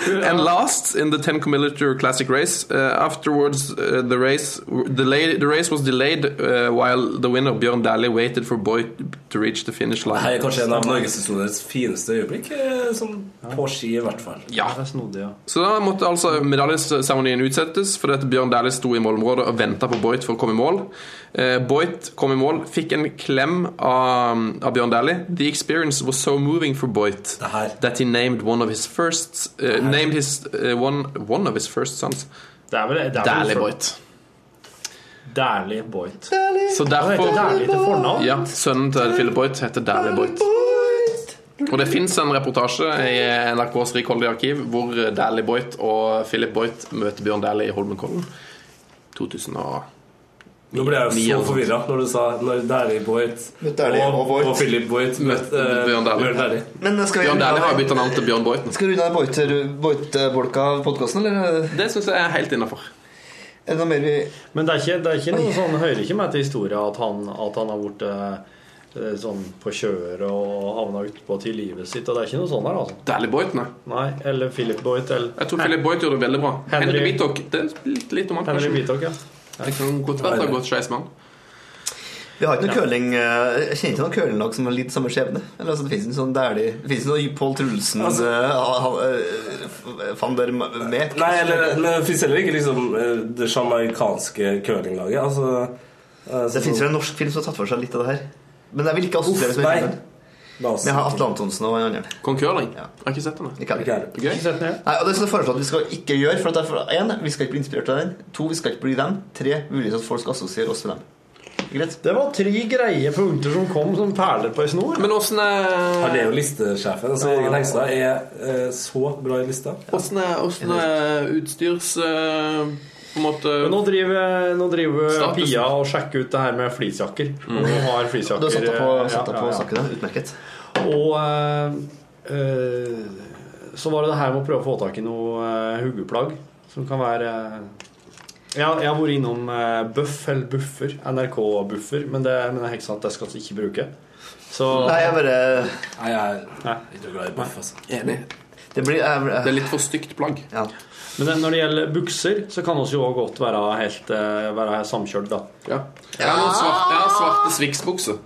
S13: and last in the 10 km classic race. Uh, afterwards, uh, the race delayed, the race was delayed uh, while the winner Bjørn Dæhlie waited for Boyd to reach the finish line.
S12: Her er kanskje en av norgeshistoriens fineste øyeblikk, eh, som på ski i hvert fall.
S13: Ja.
S10: Det er snodig, ja.
S13: Så da måtte altså medaljeseremonien utsettes fordi at Bjørn Dæhlie sto i målområdet og venta på Boit for å komme i mål. Eh, Boit kom i mål, fikk en klem av, av Bjørn Dæhlie. The experience was so moving for Boit that he named one of his first eh, Named his eh, one, one of his first sons.
S10: Det er vel det er vel-
S13: Dæhlie Boit.
S10: Dæhlie Boit.
S13: Så
S10: Han
S13: derfor
S10: heter Dæhlie til fornavn.
S13: Ja, sønnen til Philip Boit heter Dæhlie Boit. Og det fins en reportasje i NRKs rikholdige arkiv hvor Dæhlie Boit og Philip Boit møter Bjørn Dæhlie i Holmenkollen. 2000 og
S12: Nå ble jeg
S13: Mia
S12: jo
S13: og sånt.
S12: så forvirra når du sa når Dæhlie Boit
S11: Møtte Dæhlie og Boit.
S12: og Philip Boit møtte eh,
S13: Bjørn Dæhlie.
S12: Bjørn Dæhlie.
S11: Men eh, skal vi
S13: Bjørn Dæhlie har jo bytta navn til Bjørn Boiten.
S11: Skal du unna Boit-bolka av podkasten, eller?
S13: Det syns jeg er helt innafor.
S11: Er det noe mer vi
S10: Men det er ikke, det er ikke noe sånn, hører ikke med til historien at han, at han har vært eh, sånn på kjøret og havna utpå til livet sitt. Og det er ikke noe sånn her, altså.
S13: Dæhlie Boit, nei.
S10: Nei, eller Philip Boyt eller
S13: Jeg tror Philip Boit gjorde det veldig bra.
S10: Henry-
S13: Henry Bitok. Det er litt, litt om han,
S10: Henry
S13: kanskje.
S10: Bitok, ja.
S13: Det kan godt være det har gått skeis med han.
S11: Vi har ikke noe
S10: Ja.
S11: curling eh, Jeg kjenner ikke noe curlinglag som har lidd samme skjebne. Eller, altså, det fins ikke noen dælig Det fins ikke noe Pål Trulsen
S12: Altså-
S11: eh, ha- ha- eh, f- Van der Me- Meek.
S12: Nei, eller, men det fins heller ikke liksom, eh, det sjamaikanske curlinglaget. Altså,
S11: Det fins vel en norsk film som har tatt for seg litt av det her. Men jeg vil ikke assosieres
S12: Uff,
S11: med
S12: nei.
S11: filmen. Men jeg har Atle Antonsen og en annen.
S13: Kong Curling? Jeg har ikke sett den. jeg.
S11: Ikke heller. Nei, og det skal jeg foreslå at vi skal ikke gjøre. For at derfor, en, vi skal ikke bli inspirert av den. To, vi skal ikke bli dem. Tre, mulig at folk skal assosiere oss med dem.
S10: Det var tre greie punkter som kom som perler på ei snor.
S13: Men åssen
S12: Han er
S13: er
S12: jo listesjefen. Altså, Jørgen Hengstad er eh, så bra i lista.
S13: Åssen er, åssen er utstyrs... eh, på en måte
S10: Men nå driver, nå driver
S13: Status.
S10: Pia og sjekker ut det her med fleecejakker.
S13: Mm.
S10: Hun har fleecejakker.
S11: Du har satt deg på,
S10: eh,
S11: satt deg
S10: ja,
S11: på
S10: ja, ja.
S11: saken, da. utmerket.
S10: Og eh, eh, så var det det her med å prøve å få tak i noe eh, huggeplagg som kan være eh, ja, jeg har vært innom eh, Buff eller Buffer, NRK-buffer, men det men jeg er helt sant, det skal vi ikke bruke. Så
S11: Nei, jeg bare
S12: Nei, jeg er ikke glad i buff, altså.
S13: Enig.
S11: Det, blir,
S13: det er litt for stygt plagg.
S10: Men det- når det gjelder bukser, så kan vi jo også godt være helt eh, Være samkjørt, da.
S13: Ja. Jeg har noen svarte, jeg har svarte Swix-bukser.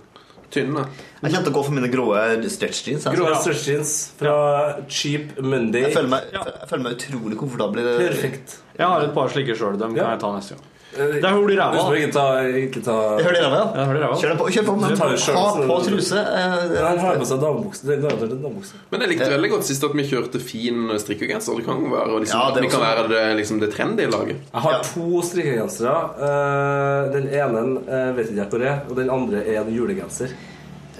S13: Tynne.
S11: Jeg kjente å gå for mine grå stretch jeans. jeg. altså.
S12: Grå stretch jeans fra Cheap Monday.
S11: Jeg føler meg, jeg føler meg utrolig komfortabel i det.
S12: Perfekt.
S10: Jeg har et par slike sjøl. Dem kan jeg ta neste gang. Det er hull i ræva.
S12: Eh, Du skal ikke ta, ikke ta...
S11: Jeg hører dere, ja.
S10: Jeg hører dere, ja.
S11: Kjør på, kjør på.
S12: Du tar jo
S11: Ha
S12: sjøl, så-
S11: på truse. eh,
S12: Ja, Han har på seg damebukse. Det er garantert en damebukse.
S13: Men jeg likte veldig godt sist at vi kjørte fin strikkegenser. Det kan jo være, liksom,
S12: Ja, det er
S13: det, vi kan
S12: også-
S13: være det, liksom, det trendy laget.
S12: Jeg har to strikkegensere. Eh, Den ene eh, vet ikke jeg hvor er, og den andre er en julegenser.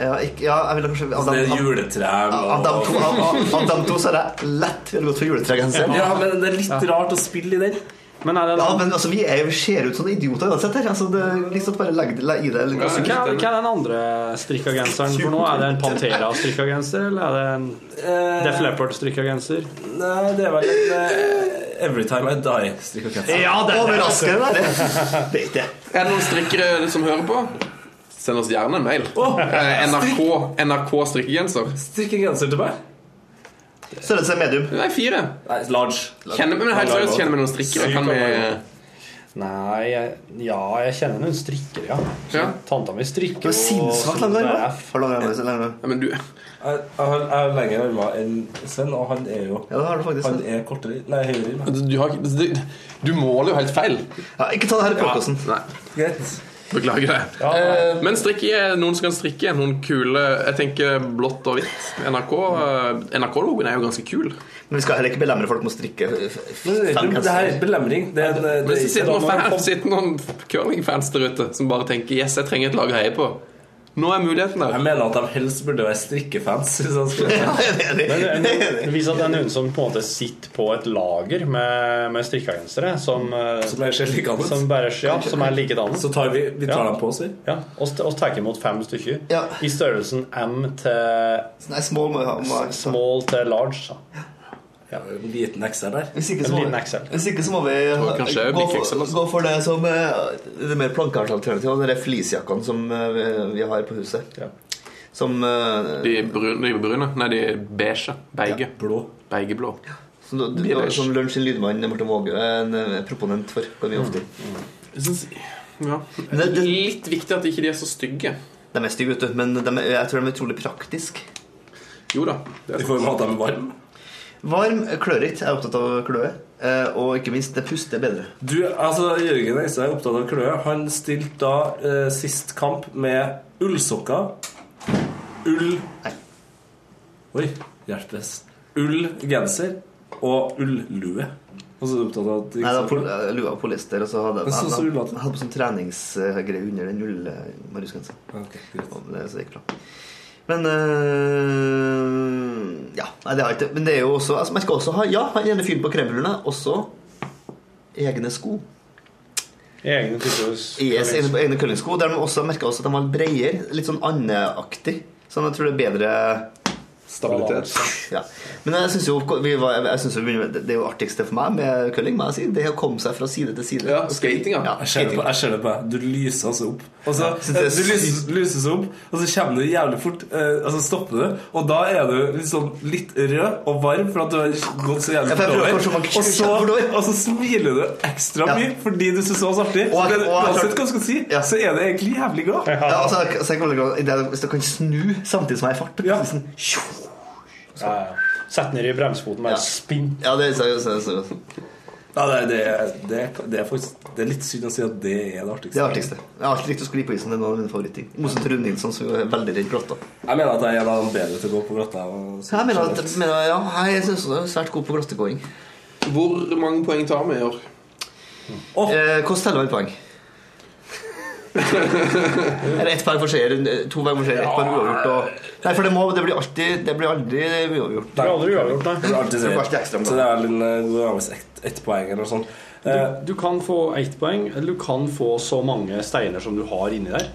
S11: Ja, ikke, ja, jeg ville kanskje
S12: Altså, det er juletre og-
S11: Av dem to, av, av, av dem to så er det lett vi hadde gått for juletregenseren.
S12: Ja, men det er litt rart å spille i den.
S10: Men er det
S11: ja, men altså, vi er, jo- ser ut som idioter uansett her. Altså, det, liksom bare legg det legg i det. eller
S10: Hva
S11: gå sur.
S10: hva er den andre strikka genseren? For nå er det en Pantera-strikka genser, eller er det en Def Leppard-strikka genser?
S12: Eh, Nei, det er vel en eh, Everytime I Die-strikkegenser.
S11: Overraskende, det er det. det.
S13: Er det noen strikkere som hører på? Send oss gjerne en mail. Eh, NRK, NRK strikkegenser.
S12: Strikkegenser til meg?
S11: Størrelse medium?
S13: Nei, fire.
S12: Nei, large.
S13: Kjenner vi men helt seriøst kjenner vi noen strikkere? Kan vi
S10: Nei, jeg- ja, jeg kjenner noen strikkere, ja. Tanta mi strikker sånn
S12: Det var sinnssykt lange armer.
S13: Ja, men du
S12: Jeg jeg har lengre armer enn Sven, og han er jo Han er kortere Nei, høyere. enn meg.
S13: altså, Du, har, ikke- du, du måler jo helt feil.
S11: Ja, ikke ta det her i podcasten.
S13: Ja,
S12: nei. Greit.
S13: Beklager det. Eh, Men strikke, noen som kan strikke. Noen kule Jeg tenker blått og hvitt. NRK eh, NRK-logoen er jo ganske kul.
S11: Men vi skal heller ikke belemre folk med å strikke. eh,
S12: Men det, er ikke- det her er ikke belemring. Det er, en- eh, det er
S13: Men så
S12: ikke-
S13: sitter noen, fans, sitter noen curlingfans der ute som bare tenker Yes, jeg trenger et lag å heie på. Nå er muligheten der.
S12: Jeg mener at de helst burde være strikkefans. Hvis jeg skulle
S11: Ja,
S10: Men det, det viser at det er noen som på en måte sitter på et lager med, med strikkagensere som, eh,
S12: Som er helt likedannet.
S10: Som, bare- ja, som er likedannet.
S12: Så tar vi- vi tar dem på oss, vi.
S10: Ja. Og st- og tar imot fem stykker. I størrelsen M til
S11: Nei, Sånn small må jeg ha- må jeg ha.
S10: s- Small til large. Da.
S12: En liten XL der.
S11: Hvis ikke,
S10: En
S11: så må,
S10: liten XL.
S11: hvis ikke så må vi
S10: Tror jeg kanskje
S11: gå,
S10: blir XL,
S11: for, gå for det som eh, det mer plankeartsalternativet. Det er fleecejakkene som eh, vi, vi har på huset. Som, eh,
S13: De brune, de brune. Nei, de beige. Beige.
S12: Blå.
S13: Beigeblå.
S11: som, du- du-
S13: de beige.
S11: som lunsj sin lydmann Martin Våge er en eh, proponent for. Kan vi ofte.
S12: Mm.
S13: Jeg synes, ja. det er litt viktig at ikke de er så stygge.
S11: De er stygge, vet du, men de, er- jeg tror de er utrolig praktiske.
S13: Jo da.
S12: Vi får jo ha dem varme.
S11: Varm, klørete. Jeg er opptatt av kløe. Eh, og ikke minst, det puster bedre.
S12: Du, altså Jørgen Eistad er opptatt av kløe. Han stilte da eh, sist kamp med ullsokker, ull Oi, hjelpes. Ull genser og ullue. Og så er du opptatt av at
S11: Nei, det var pol eh, lua og polyester, og så hadde jeg,
S12: Men så- så
S11: jeg,
S12: ullete.
S11: jeg hadde på sånn treningsgreie under den ullmarusgenseren.
S12: Okay,
S11: det så det gikk bra. Men eh, Ja. Nei, det har jeg ikke. Men det er jo også altså, Man skal også ha Ja, han ene fyren på kremlerne. Også egne sko.
S10: Egne typer
S11: Yes, egne, egne curlingsko. Der de også merka også at de var bredere. Litt sånn andeaktig. Sånn jeg tror det er bedre
S13: Stabilitet.
S11: Ja. Men jeg syns jo vi var, jeg synes jo det det er jo artigste for meg med curling, må jeg si, det er å komme seg fra side til side.
S13: Ja, skating, ja.
S11: ja
S12: Jeg ser det på- jeg ser det på deg. Du lyser altså opp. Og så,
S11: synes det er
S12: du lyses, lyses opp, og så kommer du jævlig fort. Eh, altså stopper du, og da er du litt sånn litt rød og varm for at du har gått så jævlig
S11: Ja, for jeg
S12: fort
S11: prøver
S12: over.
S11: kanskje å
S12: Og
S11: markere
S12: så, og så smiler du ekstra
S11: Ja.
S12: mye fordi du syns det var så artig.
S11: Og-
S12: Men
S11: og-
S12: uansett hva du skal si, så er det egentlig jævlig glad.
S11: Ja, altså, jeg- så jeg kan veldig glad i det, Hvis du kan snu samtidig som jeg er i fart det er liksom sånn, tjo.
S10: Ja, ja. Sett ned i bremsfoten med
S11: Ja.
S10: en spinn.
S11: Ja, det er seriøst. seriøst, seriøst.
S12: Ja, det, det, det, er- det er faktisk Det er litt synd å si at det er det artigste.
S11: Det er artigste. Jeg har alltid likt å skli på isen. Det er noen av mine favoritting. Motsatt Rune Nilsson, som jo er veldig redd grotta.
S12: Jeg mener at jeg er en av de bedre til å gå på grotta. og-
S11: Jeg mener at, mener, ja, jeg syns du er svært god på grottegåing.
S13: Hvor mange poeng tar vi i år?
S11: Eh, hvordan teller man
S12: (laughs)
S11: poeng? Eller ett poeng for seier, to poeng for seier, ett poeng uavgjort og Nei, for det, må, det blir alltid Det blir aldri uavgjort.
S12: Det blir aldri uavgjort, nei.
S11: Det blir alltid seier. ekstra omgang.
S12: Så det er vel en eh, god avgjørelse ett ett poeng eller noe sånt.
S10: Du, du kan få ett poeng, eller du kan få så mange steiner som du har inni der.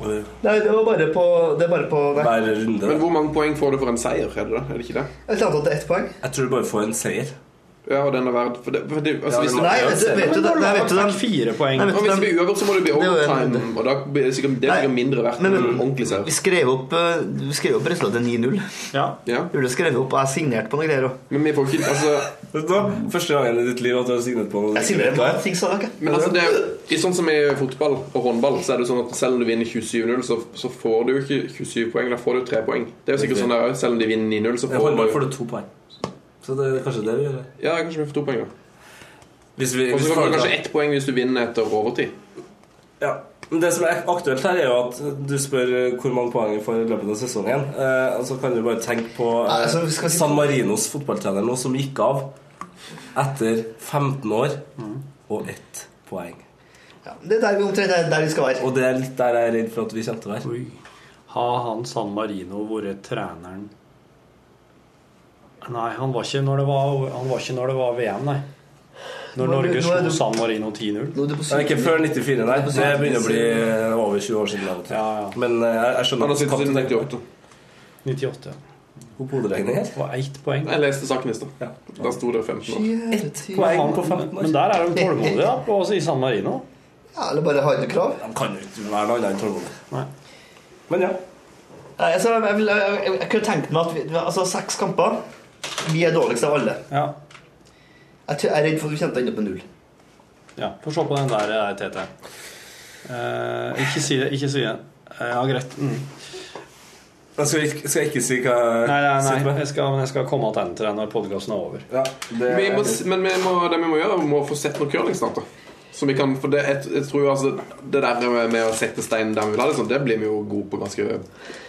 S11: Nei, det var bare på Det er bare på nei.
S13: Men hvor mange poeng får du for en seier? Er det, det? Er det ikke det?
S11: Jeg tenkte at det er ett poeng.
S12: Jeg tror du bare får en seier.
S13: Ja, og den er verd for det, for det, altså,
S12: Ja,
S13: hvis
S12: men-
S13: det-
S12: Nei, vet du- vet du
S13: Men
S12: det- nei, vet du
S13: da-
S12: det- Fire poeng.
S13: Nei,
S11: vet du
S13: og hvis det
S11: det-
S13: blir uavgjort, så må det bli
S11: Det er jo-
S13: overtime. Og da blir det sikkert, det er sikkert mindre verdt enn en ordentlig seier.
S11: Vi skrev opp, eh, vi skrev opp resultatet 9-0.
S13: Ja.
S11: Burde skrevet opp, og jeg signerte på noen greier òg.
S13: Men vi får ikke altså,
S12: Første gangen i ditt liv at du har signet på noe du
S11: Jeg signerer
S12: ikke
S11: på
S12: liker.
S11: ting, sa dere.
S13: Men altså, det er jo, i sånn som i fotball og håndball, så er det jo sånn at selv om du vinner 27-0, så, så får du jo ikke 27 poeng, da får du 3 poeng. Det er jo sikkert sånn der òg. Selv om de vinner 9-0, så
S12: I
S13: får
S12: håndball
S13: du
S12: får du to poeng. Så det er kanskje det vi gjør.
S13: Ja, kanskje vi får to poeng, da.
S12: Hvis vi-
S13: Og
S12: hvis
S13: så
S12: vi
S13: får
S12: får
S13: du
S12: det,
S13: kanskje
S12: da.
S13: ett poeng hvis du vinner etter overtid.
S12: Ja. Men det som er aktuelt her, er jo at du spør eh, hvor mange poeng vi får i løpet av sesongen. Eh, og så kan du bare tenke på eh,
S11: Nei, altså, skal vi si-
S12: San Marinos fotballtrener nå som gikk av etter 15 år og ett poeng.
S11: Mm. Det er der vi omtrent er der vi skal være.
S12: Og det er litt der jeg er redd for at vi kommer til å være.
S10: Har han San Marino vært treneren Nei, han var ikke når det var, han var, ikke når det var VM, nei. Når
S12: Nå er du-
S10: Norge
S12: nå er
S10: slo
S12: du-
S10: San Marino 10-0.
S12: Det er ikke før 94, nei.
S10: Du er på
S12: Det begynner å bli eh,
S10: syvende.
S12: over 20 år siden. Ja, Men eh, jeg, jeg skjønner
S13: Han har sittet siden 98.
S10: 98,
S12: Hun hoderegning her.
S10: var ett poeng.
S13: Jeg leste saken i stad. Da sto det 15 år.
S11: Ett
S10: Men han- Men der er de tålmodige, da, på, i San Marino.
S11: Ja, eller bare har du krav?
S12: De kan jo ikke være noe annet enn tålmodig. Men ja.
S11: Nei, altså, jeg, vil- jeg, jeg, jeg kunne tenkt meg at vi, altså, seks kamper Vi er dårligst av alle. Jeg, tror- jeg er redd for at vi kommer til å ende opp med null.
S10: Ja, Få se på den der, der TT. Eh, ikke si det. Ikke si det. Eh, ja, greit. Mm.
S12: Jeg skal, ikke, skal jeg ikke si hva jeg
S10: Nei, nei,
S12: sitter
S10: nei.
S12: med?
S10: Jeg skal, men jeg skal komme tilbake til det når podkasten er over.
S12: Ja, det
S13: Vi må, s- men vi må, det vi må gjøre, er vi må få sett noe curling snart. da Som vi kan, for det, jeg, jeg tror jo altså Det der med, med å sette stein der vi vil ha det, sånn, det blir vi jo gode på ganske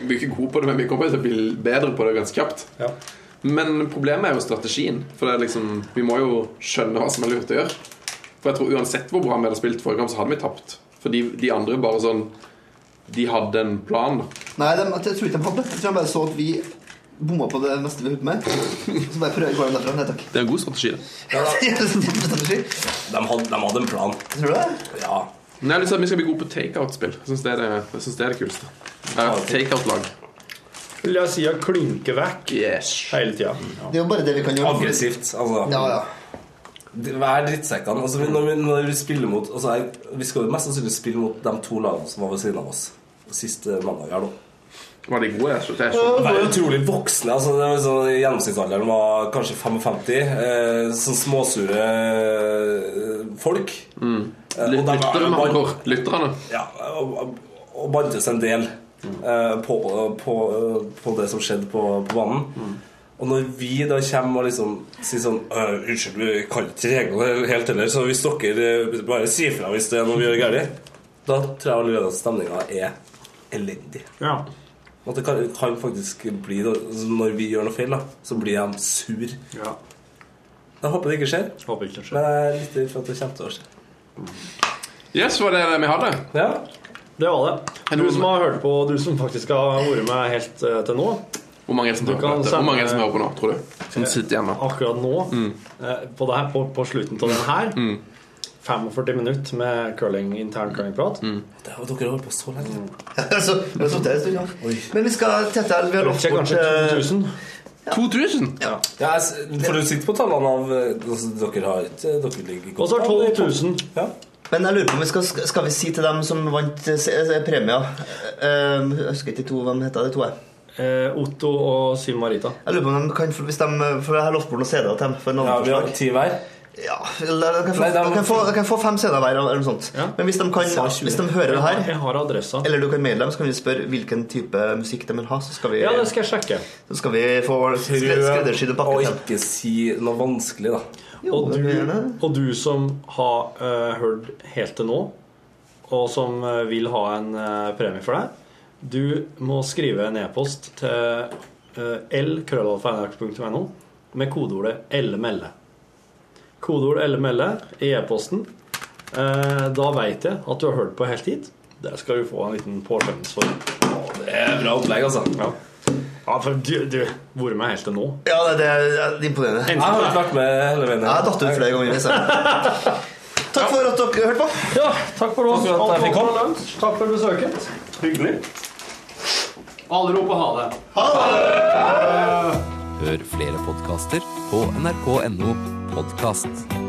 S13: Vi er ikke gode på det, men vi kommer til å bli bedre på det ganske kjapt.
S11: (laughs)
S13: Men problemet er jo strategien. For det er liksom, vi må jo skjønne hva som er lurt å gjøre. For jeg tror uansett hvor bra vi hadde spilt forrige kamp, så hadde vi tapt. For de, de andre bare sånn De hadde en plan. da
S11: Nei, de, jeg tror ikke de hadde. Jeg tror de bare så at vi bomma på det meste vi holdt på med. Så bare prøver å gå dem derfra. Nei takk.
S13: Det er en god strategi. det
S12: De hadde, de hadde en plan.
S11: Tror du det?
S12: Ja.
S13: Men jeg har lyst til at vi skal bli gode på takeout-spill. Jeg syns det, er det- jeg synes det er det kuleste. Jeg har et Takeout-lag.
S10: Vil jeg si å klynke vekk hele tida.
S11: Det er jo bare det vi kan gjøre.
S12: Aggressivt, altså.
S11: Ja, ja.
S12: Det- Hver drittsekkene altså, vi- når, vi, når vi spiller mot altså, jeg, Vi skal jo mest sannsynlig spille mot de to lagene som var ved siden av oss sist eh, mandag. her nå
S13: Var de gode? Jeg skjønte, jeg
S12: De
S13: skjønte.
S12: var utrolig voksne. Altså, det var sånn, gjennomsnittsalderen var kanskje 55. Eh, sånn småsure eh, folk. Eh, og de-
S13: Lytterne, med
S12: de-
S13: andre ord. Lytterne.
S12: Ja, og, og bantes en del eh, på, på, på det som skjedde på, på banen. Og når vi da kommer og liksom sier sånn «Øh, Unnskyld, vi kan ikke reglene helt heller, så hvis dere eh, bare sier fra hvis det er noe vi gjør galt, da tror jeg allerede at stemninga er elendig.
S10: Ja.
S12: Og det kan, kan faktisk bli da, altså, Når vi gjør noe feil, da, så blir de sur. Jeg håper det ikke skjer.
S10: Håper ikke det
S12: Men jeg er litt redd for at det kommer til å skje.
S13: Yes, var det det vi hadde?
S10: Ja, det var det. Du som har hørt på, du som faktisk har vært med helt eh, til nå
S13: Hvor mange er det som
S10: Du
S13: hører på
S10: kan
S13: dette? Hvor
S10: sende-
S13: mange er det som hører på nå, tror du? Som sitter hjemme.
S10: akkurat nå,
S11: Mm.
S10: eh, på, det her, på, på slutten av den her 45 minutter med curling, intern curlingprat.
S11: Mm.
S12: Det har dere holdt på så lenge.
S11: Altså, vi har sittet her en stund, ja. Men vi skal tette Vi har lovt
S10: Kanskje
S11: bort eh,
S10: 2000.
S13: 2000?
S12: Ja. Ja, jeg s- for du sitter på tallene av eh, altså, Dere har ikke Dere ligger godt an.
S11: 000. Men jeg lurer på om vi skal, skal vi si til dem som vant eh, se- eh, premier eh, Jeg husker ikke de to, hvem heter de to?
S10: Eh, Otto og Siv Marita.
S11: Jeg lurer på om de kan, få- hvis de, For jeg har lovt bort noen CD-er til dem. For
S12: Ja, vi har ti hver.
S11: Ja, eller dere kan få, dere kan få, dere kan få fem CD-er hver. Eller noe sånt. Men hvis de, kan,
S10: Sa tjue.
S11: hvis de hører det her,
S10: Jeg har adressa.
S11: eller du kan maile dem, så kan vi spørre hvilken type musikk de vil ha. Så skal vi,
S10: Ja, det skal jeg sjekke.
S11: så skal vi få skred- skreddersydd en pakke
S12: Prøv å
S11: til dem.
S12: ikke si noe vanskelig, da.
S10: Og du, og du som har eh, hørt helt til nå, og som eh, vil ha en eh, premie for deg, du må skrive en e-post til uh, lkrøllalfa.nrk.no med kodeordet 'ellemelle'. Kodeord 'ellemelle' i e-posten. Eh, da veit jeg at du har hørt på helt hit. Der skal du få en liten påskjønnelse for.
S12: Det er bra opplegg, altså.
S10: Ja. Ja, for du, du vært med helt til nå.
S11: Ja, det, det er imponerende.
S10: Jeg har ikke
S12: vært med hele veien.
S11: Jeg har datt ut flere ganger. så.
S12: (laughs)
S11: Takk for at dere hørte på.
S10: Ja, takk for oss.
S11: Takk for at jeg fikk komme.
S10: Takk for besøket. Hyggelig. Alle roper ha det.
S14: Hør flere podkaster på nrk.no podkast.